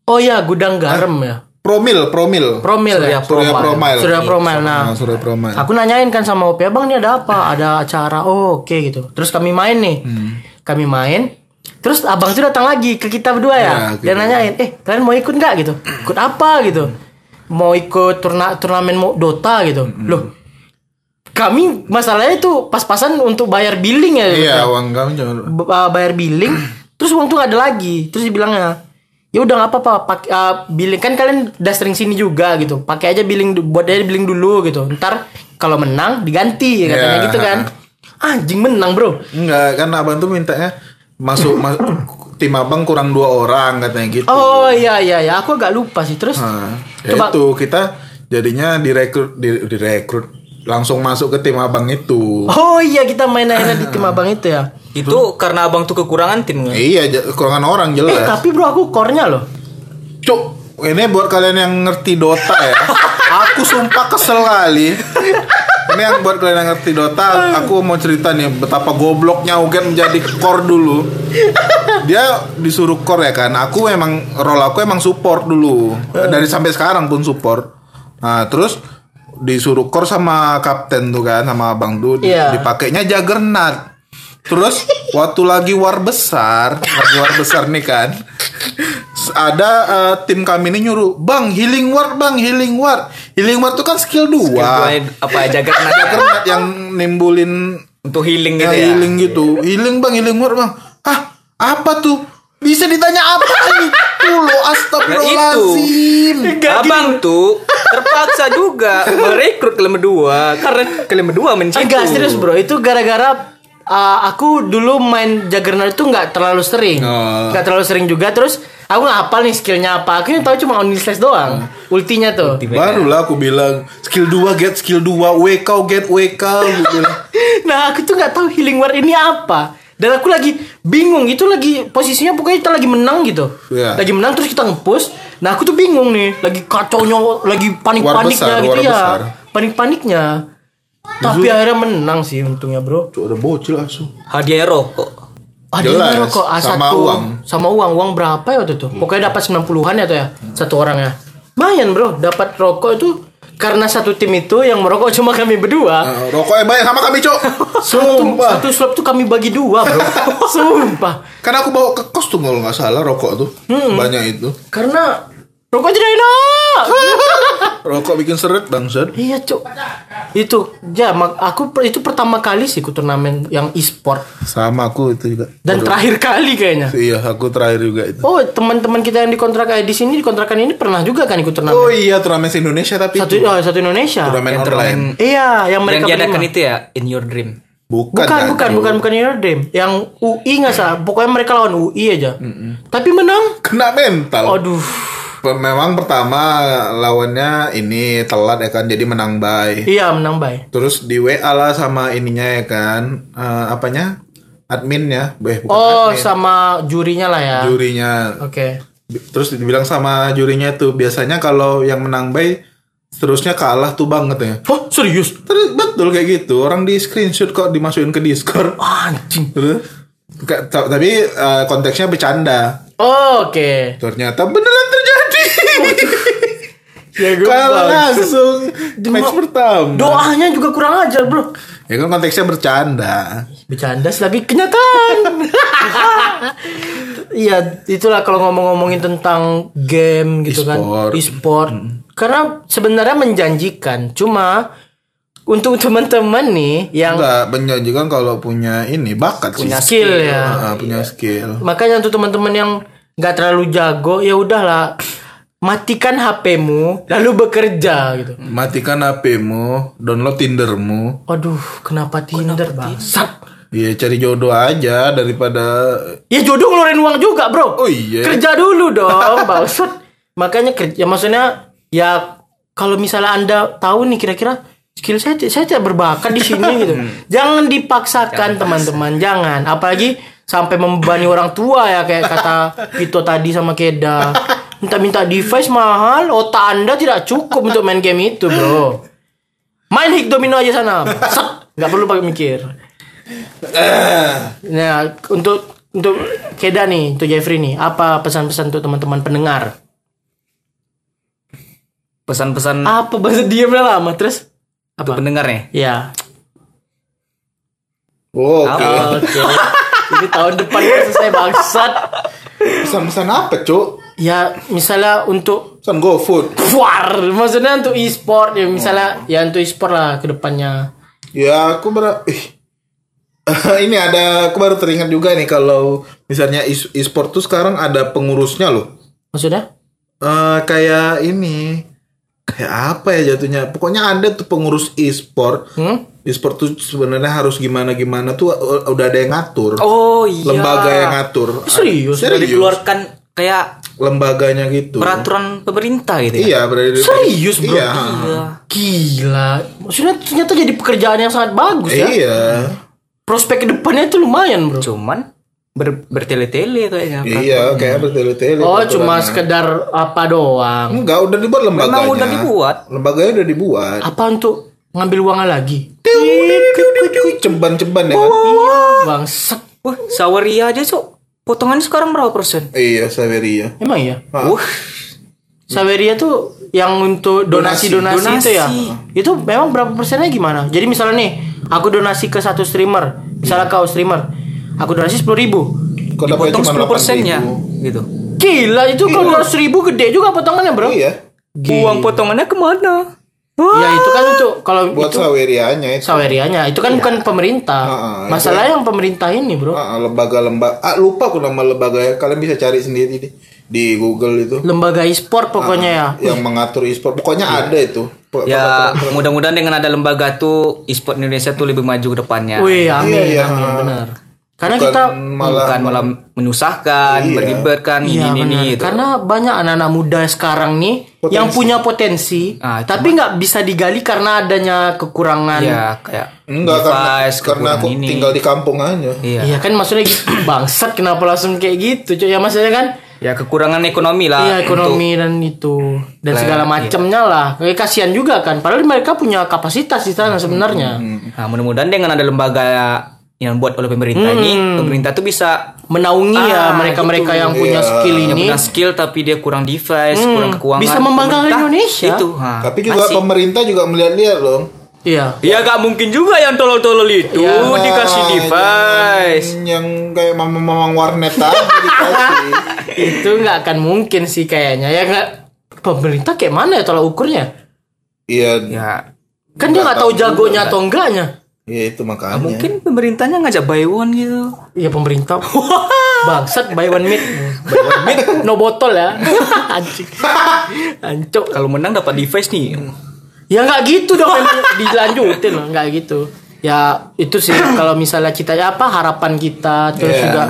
Speaker 1: Oh iya, gudang garam ya.
Speaker 2: Promil, promil.
Speaker 1: Promil ya.
Speaker 2: Surya Promil.
Speaker 1: Surya Promil. Nah,
Speaker 2: Ah, Surya Promil.
Speaker 1: Aku nanyain kan sama OP, "Bang, ini ada apa? Ada acara." Oh, oke gitu. Terus kami main nih. Kami main. Terus abang itu datang lagi ke kita berdua ya.
Speaker 2: Ya, gitu.
Speaker 1: Dia nanyain, "Eh, kalian mau ikut nggak?" gitu. "Ikut apa?" gitu. "Mau ikut turna turnamen mau Dota." gitu. Loh. Kami masalahnya itu pas-pasan untuk bayar billing ya.
Speaker 2: Iya, uang kamu jangan.
Speaker 1: B- uh, bayar billing terus uang tuh nggak ada lagi terus dibilangnya ya udah nggak apa-apa pakai uh, billing kan kalian udah sering sini juga gitu pakai aja billing du- buat aja billing dulu gitu ntar kalau menang diganti katanya
Speaker 2: Ya.
Speaker 1: gitu kan anjing menang bro
Speaker 2: Enggak, kan abang tuh mintanya masuk mas- tim abang kurang dua orang katanya gitu.
Speaker 1: oh iya iya iya aku agak lupa sih terus
Speaker 2: Nah, ya
Speaker 1: coba
Speaker 2: itu kita jadinya direkrut di- direkrut langsung masuk ke tim abang itu.
Speaker 1: oh iya kita main akhirnya di tim abang itu ya
Speaker 3: Itu karena abang tuh kekurangan
Speaker 1: Oh.
Speaker 3: tim kan?
Speaker 2: Iya, ja- kekurangan orang
Speaker 1: eh
Speaker 2: jelas.
Speaker 1: tapi bro aku core-nya loh
Speaker 2: Cuk, ini buat kalian yang ngerti Dota ya. Aku sumpah kesel kali. Ini yang buat kalian yang ngerti Dota, aku mau cerita nih betapa gobloknya Ugen menjadi core dulu. Dia disuruh core ya kan. Aku emang role aku emang support dulu. Dari sampai sekarang pun support. Nah, terus disuruh core sama kapten tuh kan sama Bang Dudi
Speaker 1: Iya.
Speaker 2: dipakainya Juggernaut. Terus waktu lagi war besar, lagi war besar nih kan. Ada eh, tim kami ini nyuruh, "Bang, healing ward, Bang, healing ward." Healing ward tuh kan skill 2.
Speaker 3: apa ya, jaga tenaga
Speaker 2: Juggernaut yang nimbulin
Speaker 3: untuk healing
Speaker 2: ya,
Speaker 3: gitu ya.
Speaker 2: healing gitu. Healing bang, healing word bang. Hah, apa tuh? Bisa ditanya apa itu lo astagfirullahaladzim.
Speaker 3: Abang tuh terpaksa juga merekrut kalian berdua karena kalian berdua mencitu.
Speaker 1: Enggak serius bro, itu gara-gara uh, aku dulu main Juggernaut itu nggak terlalu sering,
Speaker 2: Oh.
Speaker 1: nggak terlalu sering juga. Terus aku nggak hafal nih skillnya apa. Aku yang tahu cuma only slash doang,
Speaker 2: Oh.
Speaker 1: ultinya tuh.
Speaker 2: Barulah aku bilang skill 2 get skill 2 WK get WK aku bilang.
Speaker 1: Nah aku tuh nggak tahu healing word ini apa. Dan aku lagi bingung itu lagi posisinya pokoknya kita lagi menang gitu,
Speaker 2: Iya.
Speaker 1: lagi menang terus kita ngepush. Nah aku tuh bingung nih, lagi kacaunya, lagi panik-paniknya
Speaker 2: War besar,
Speaker 1: gitu
Speaker 2: war
Speaker 1: ya,
Speaker 2: besar.
Speaker 1: panik-paniknya. Tapi akhirnya menang sih untungnya bro.
Speaker 2: Cuk ada bocil asuh.
Speaker 3: Hadiahnya rokok.
Speaker 1: Ada
Speaker 2: Jelas,
Speaker 1: yang rokok A1
Speaker 2: sama uang.
Speaker 1: Ah,
Speaker 2: Hmm.
Speaker 1: Sama uang Uang berapa ya waktu itu Pokoknya dapat 90an ya tuh ya Satu orang ya Lumayan bro Dapat rokok itu Karena satu tim itu Yang merokok cuma kami berdua
Speaker 2: Nah, rokoknya banyak sama kami, Cok.
Speaker 1: Satu,
Speaker 2: Sumpah.
Speaker 1: satu slop tuh kami bagi dua bro Sumpah
Speaker 2: Karena aku bawa ke kos tuh kalau nggak salah rokok tuh. Banyak itu.
Speaker 1: Karena Rokok jadi enak
Speaker 2: Rokok bikin seret bangsat.
Speaker 1: Iya cuk Itu Ya mak- aku per- Itu pertama kali sih Ikut turnamen Yang e-sport
Speaker 2: Sama aku itu juga.
Speaker 1: Dan terakhir kali kayaknya
Speaker 2: Iya, aku terakhir juga itu.
Speaker 1: Oh teman-teman kita yang dikontrak eh, di sini dikontrakan ini pernah juga kan ikut turnamen
Speaker 2: Oh iya, turnamen Indonesia tapi
Speaker 1: satu
Speaker 2: itu.
Speaker 1: oh, satu Indonesia
Speaker 2: turnamen
Speaker 3: yang
Speaker 2: online.
Speaker 3: turnamen-
Speaker 1: Iya, yang mereka
Speaker 3: Yang diadakan
Speaker 1: berlima.
Speaker 3: itu ya in your dream.
Speaker 2: Bukan,
Speaker 1: Bukan,
Speaker 2: kan?
Speaker 1: bukan, bukan, bukan Your Dream. Yang UI nggak salah. Pokoknya mereka lawan UI aja. Tapi menang.
Speaker 2: Kena mental.
Speaker 1: Aduh.
Speaker 2: Pe- Memang pertama lawannya ini telat ya kan, jadi menang by.
Speaker 1: Iya, menang bay.
Speaker 2: Terus di WA lah sama ininya ya kan, eh, apanya? Adminnya, eh bukan
Speaker 1: Oh,
Speaker 2: admin,
Speaker 1: sama jurinya lah ya.
Speaker 2: jurinya.
Speaker 1: Oke.
Speaker 2: Di- Terus dibilang sama jurinya tuh biasanya kalau yang menang by seterusnya kalah tuh banget ya.
Speaker 1: Oh, serius?
Speaker 2: Terus betul kayak gitu, orang di screenshot kok dimasukin ke Discord.
Speaker 1: Anjing.
Speaker 2: Terus Ka- ta- tapi eh, konteksnya bercanda.
Speaker 1: Oh, Oke.
Speaker 2: Ternyata beneran terjadi.
Speaker 1: Oh, Ya, gue
Speaker 2: Kalah
Speaker 1: bang.
Speaker 2: langsung match pertama.
Speaker 1: Doanya juga kurang ajar, Bro.
Speaker 2: Ya kan konteksnya bercanda.
Speaker 1: Bercanda sih, tapi kenyataan. Iya, itulah kalau ngomong-ngomongin tentang game gitu
Speaker 2: E-sport.
Speaker 1: kan, e-sport. Karena sebenarnya menjanjikan, cuma untuk teman-teman nih yang
Speaker 2: Enggak menjanjikan kalau punya ini bakat
Speaker 1: punya
Speaker 2: sih.
Speaker 1: skill ya.
Speaker 2: Ah, punya skill.
Speaker 1: Makanya untuk teman-teman yang nggak terlalu jago, ya udahlah matikan HP-mu lalu bekerja gitu.
Speaker 2: Matikan HPmu, download Tindermu.
Speaker 1: Aduh, kenapa Tinder, bangsat?
Speaker 2: Ya cari jodoh aja daripada
Speaker 1: Ya jodoh ngeluarin uang juga, Bro.
Speaker 2: Oh, iya.
Speaker 1: Kerja dulu dong, bangsat. Makanya kerja maksudnya ya kalau misalnya Anda tahu nih kira-kira skill saya ti- saya tidak berbakat di sini gitu. Jangan dipaksakan, teman-teman. Jangan, apalagi sampai membebani orang tua ya kayak kata Pito tadi sama Keda. Minta-minta device mahal, otak Anda tidak cukup untuk main game itu, Bro. Main hik domino aja sana. Set. Nggak perlu pakai mikir. Nah, untuk untuk Keda nih, untuk Jeffrey nih, apa pesan-pesan untuk teman-teman pendengar?
Speaker 3: Pesan-pesan
Speaker 1: Apa bahasa diamnya lama terus?
Speaker 3: untuk pendengar nih.
Speaker 1: Ya.
Speaker 2: Oh, Oke.
Speaker 1: Oke. Ini tahun depan baru selesai bangsat.
Speaker 2: Pesan-pesan apa, Cuk?
Speaker 1: Ya, misalnya untuk
Speaker 2: Pesan GoFood.
Speaker 1: war, maksudnya untuk e-sport ya misalnya ya untuk e-sport lah ke depannya.
Speaker 2: Ya, aku ber ih. ini ada aku baru teringat juga nih kalau misalnya e- e-sport tuh sekarang ada pengurusnya loh.
Speaker 1: Maksudnya?
Speaker 2: eh kayak ini kayak apa ya jatuhnya pokoknya ada tuh pengurus e-sport
Speaker 1: Hmm?
Speaker 2: e-sport tuh sebenarnya harus gimana gimana tuh u- udah ada yang ngatur
Speaker 3: Oh iya.
Speaker 2: lembaga yang ngatur
Speaker 1: Serius?
Speaker 2: Ada-
Speaker 3: Sudah dikeluarkan kayak
Speaker 2: lembaganya gitu
Speaker 3: peraturan pemerintah gitu ya.
Speaker 2: iya berarti
Speaker 1: Serius, ya? bro?
Speaker 2: iya
Speaker 3: Iya.
Speaker 1: Gila. Maksudnya ternyata jadi pekerjaan yang sangat bagus ya.
Speaker 2: iya
Speaker 1: Prospek ke depannya itu lumayan, Bro.
Speaker 3: Cuman ber- bertele-tele kayaknya. kan.
Speaker 2: iya, kayak bertele-tele
Speaker 1: Oh,
Speaker 2: peraturannya.
Speaker 1: cuma sekedar apa doang.
Speaker 2: enggak udah dibuat lembaganya
Speaker 3: Memang udah dibuat.
Speaker 2: lembaganya udah dibuat
Speaker 1: Apa untuk ngambil uangnya lagi.
Speaker 2: ceban-ceban ya kan
Speaker 1: Oh. Bangsat.
Speaker 3: Wah, Saweria aja, Cuk. Potongannya sekarang berapa persen?
Speaker 2: iya Saveria
Speaker 1: Emang iya?
Speaker 3: Wah,
Speaker 1: Saweria tuh yang untuk donasi-donasi
Speaker 3: Donasi.
Speaker 1: itu ya. Itu memang berapa persennya gimana? Jadi misalnya nih, aku donasi ke satu streamer, misalnya kau streamer, aku donasi 10.000 ribu.
Speaker 2: kok dapatnya
Speaker 3: potong
Speaker 2: cuma 8.000.
Speaker 3: 10
Speaker 1: ya?
Speaker 3: persennya gitu.
Speaker 1: Gila itu kalau dua ribu gede juga potongannya bro.
Speaker 2: iya
Speaker 3: Uang potongannya kemana? Wah.
Speaker 1: Ya itu kan untuk kalau
Speaker 2: buat
Speaker 3: Gitu.
Speaker 1: itu
Speaker 2: Saverianya itu
Speaker 1: Sawerianya itu kan bukan pemerintah.
Speaker 2: Heeh, itu
Speaker 1: Masalah yang pemerintah ini bro,
Speaker 2: Ah, lembaga lembaga ah lupa aku nama lembaganya kalian bisa cari sendiri deh di Google itu
Speaker 1: lembaga e-sport pokoknya ya.
Speaker 2: yang mengatur e-sport pokoknya ada itu Po-
Speaker 3: Iya. Ya, mudah-mudahan dengan ada lembaga tuh e-sport Indonesia tuh lebih maju ke depannya.
Speaker 1: Wih, amin,
Speaker 2: Iya, iya.
Speaker 1: amin, benar. Karena kita
Speaker 2: malah
Speaker 3: Bukan malah menyusahkan, berlibatkan
Speaker 1: Iya
Speaker 3: ini ini
Speaker 1: benar.
Speaker 3: gitu.
Speaker 1: Karena banyak anak-anak muda sekarang nih yang punya potensi,
Speaker 3: Ah,
Speaker 1: tapi nggak bisa digali karena adanya kekurangan. Iya
Speaker 3: Ya, kayak
Speaker 2: enggak karena
Speaker 3: device,
Speaker 2: karena aku
Speaker 3: kekurangan ini.
Speaker 2: tinggal di kampung aja
Speaker 3: Iya.
Speaker 1: kan maksudnya gitu. bangsat kenapa langsung kayak gitu? Cuy? Ya maksudnya kan
Speaker 3: Ya kekurangan ekonomi lah.
Speaker 1: Iya ekonomi dan itu dan
Speaker 3: iya.
Speaker 1: segala macamnya lah. Kayak kasihan juga kan. Padahal mereka punya kapasitas di sana sebenarnya.
Speaker 3: Nah, mudah-mudahan dengan ada lembaga yang buat oleh pemerintah ini,
Speaker 1: Hmm.
Speaker 3: pemerintah tuh bisa
Speaker 1: Menaungi ya
Speaker 3: Ah,
Speaker 1: mereka-mereka yang punya skill
Speaker 3: yang
Speaker 1: ini Hmm.
Speaker 3: punya skill tapi dia kurang device, kurang keuangan.
Speaker 1: bisa membanggakan
Speaker 3: Pemerintah,
Speaker 1: Indonesia.
Speaker 3: Itu. ha.
Speaker 2: tapi juga
Speaker 3: Asik.
Speaker 2: pemerintah juga melihat-lihat loh
Speaker 1: Iya.
Speaker 3: Ya gak mungkin juga yang tolol-tolol itu
Speaker 1: Ya.
Speaker 3: dikasih
Speaker 2: Ah,
Speaker 3: device.
Speaker 2: yang, yang kayak mamang-mamang warnet aja dikasih
Speaker 1: itu nggak akan mungkin sih kayaknya ya nggak pemerintah kayak mana ya tolak ukurnya
Speaker 2: iya
Speaker 3: Ya
Speaker 1: kan dia nggak tahu jagonya atau enggaknya
Speaker 2: iya itu makanya
Speaker 3: mungkin pemerintahnya ngajak buy one gitu.
Speaker 1: Iya pemerintah bangsat buy one meat no botol ya anjing ancok
Speaker 3: Kalau menang dapat device nih.
Speaker 1: ya nggak gitu dong memang dilanjutin lah nggak gitu ya itu sih kalau misalnya kita ya apa harapan kita terus
Speaker 2: Iya.
Speaker 1: juga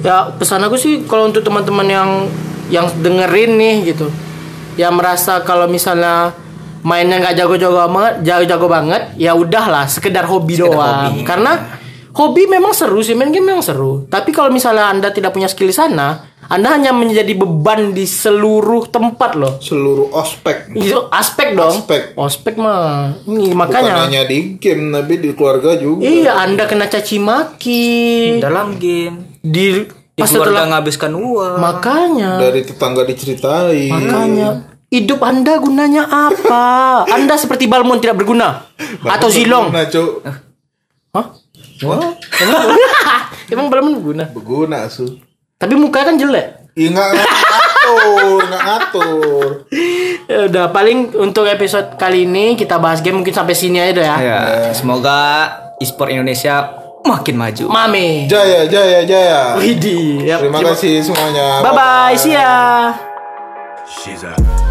Speaker 1: ya pesan aku sih kalau untuk teman-teman yang yang dengerin nih gitu yang merasa kalau misalnya mainnya nggak jago-jago banget jago-jago banget ya udahlah sekedar hobi doang
Speaker 3: hobi.
Speaker 1: karena hobi memang seru sih main game memang seru tapi kalau misalnya anda tidak punya skill di sana anda hanya menjadi beban di seluruh tempat loh
Speaker 2: seluruh ospek
Speaker 3: Iya,
Speaker 1: itu aspek dong.
Speaker 2: Aspek.
Speaker 1: Ospek mah. Ini
Speaker 2: bukan
Speaker 1: makanya.
Speaker 2: hanya di game tapi di keluarga juga
Speaker 1: Iya, Anda kena caci maki.
Speaker 3: Dalam game.
Speaker 1: Di
Speaker 3: Di
Speaker 1: pas
Speaker 3: keluarga
Speaker 1: setelah
Speaker 3: ngabiskan uang.
Speaker 1: makanya.
Speaker 2: dari tetangga diceritain
Speaker 1: Makanya hidup Anda gunanya apa? Anda seperti Balmon tidak berguna atau Zilong.
Speaker 2: berguna cuk
Speaker 1: Hah?
Speaker 2: Wah,
Speaker 1: Emang Balmon berguna.
Speaker 2: berguna su
Speaker 1: Tapi mukanya kan jelek.
Speaker 2: Iya nggak ngatur, nggak ngatur.
Speaker 1: Ya Udah paling untuk episode kali ini kita bahas game mungkin sampai sini aja dah ya.
Speaker 2: Iya.
Speaker 3: Ya, semoga e-sport Indonesia makin maju.
Speaker 1: Mame.
Speaker 2: Jaya, jaya, jaya.
Speaker 1: Widih. Ya,
Speaker 2: Terima kasih semuanya.
Speaker 1: Bye bye, see ya.
Speaker 4: She's a Uh-uh,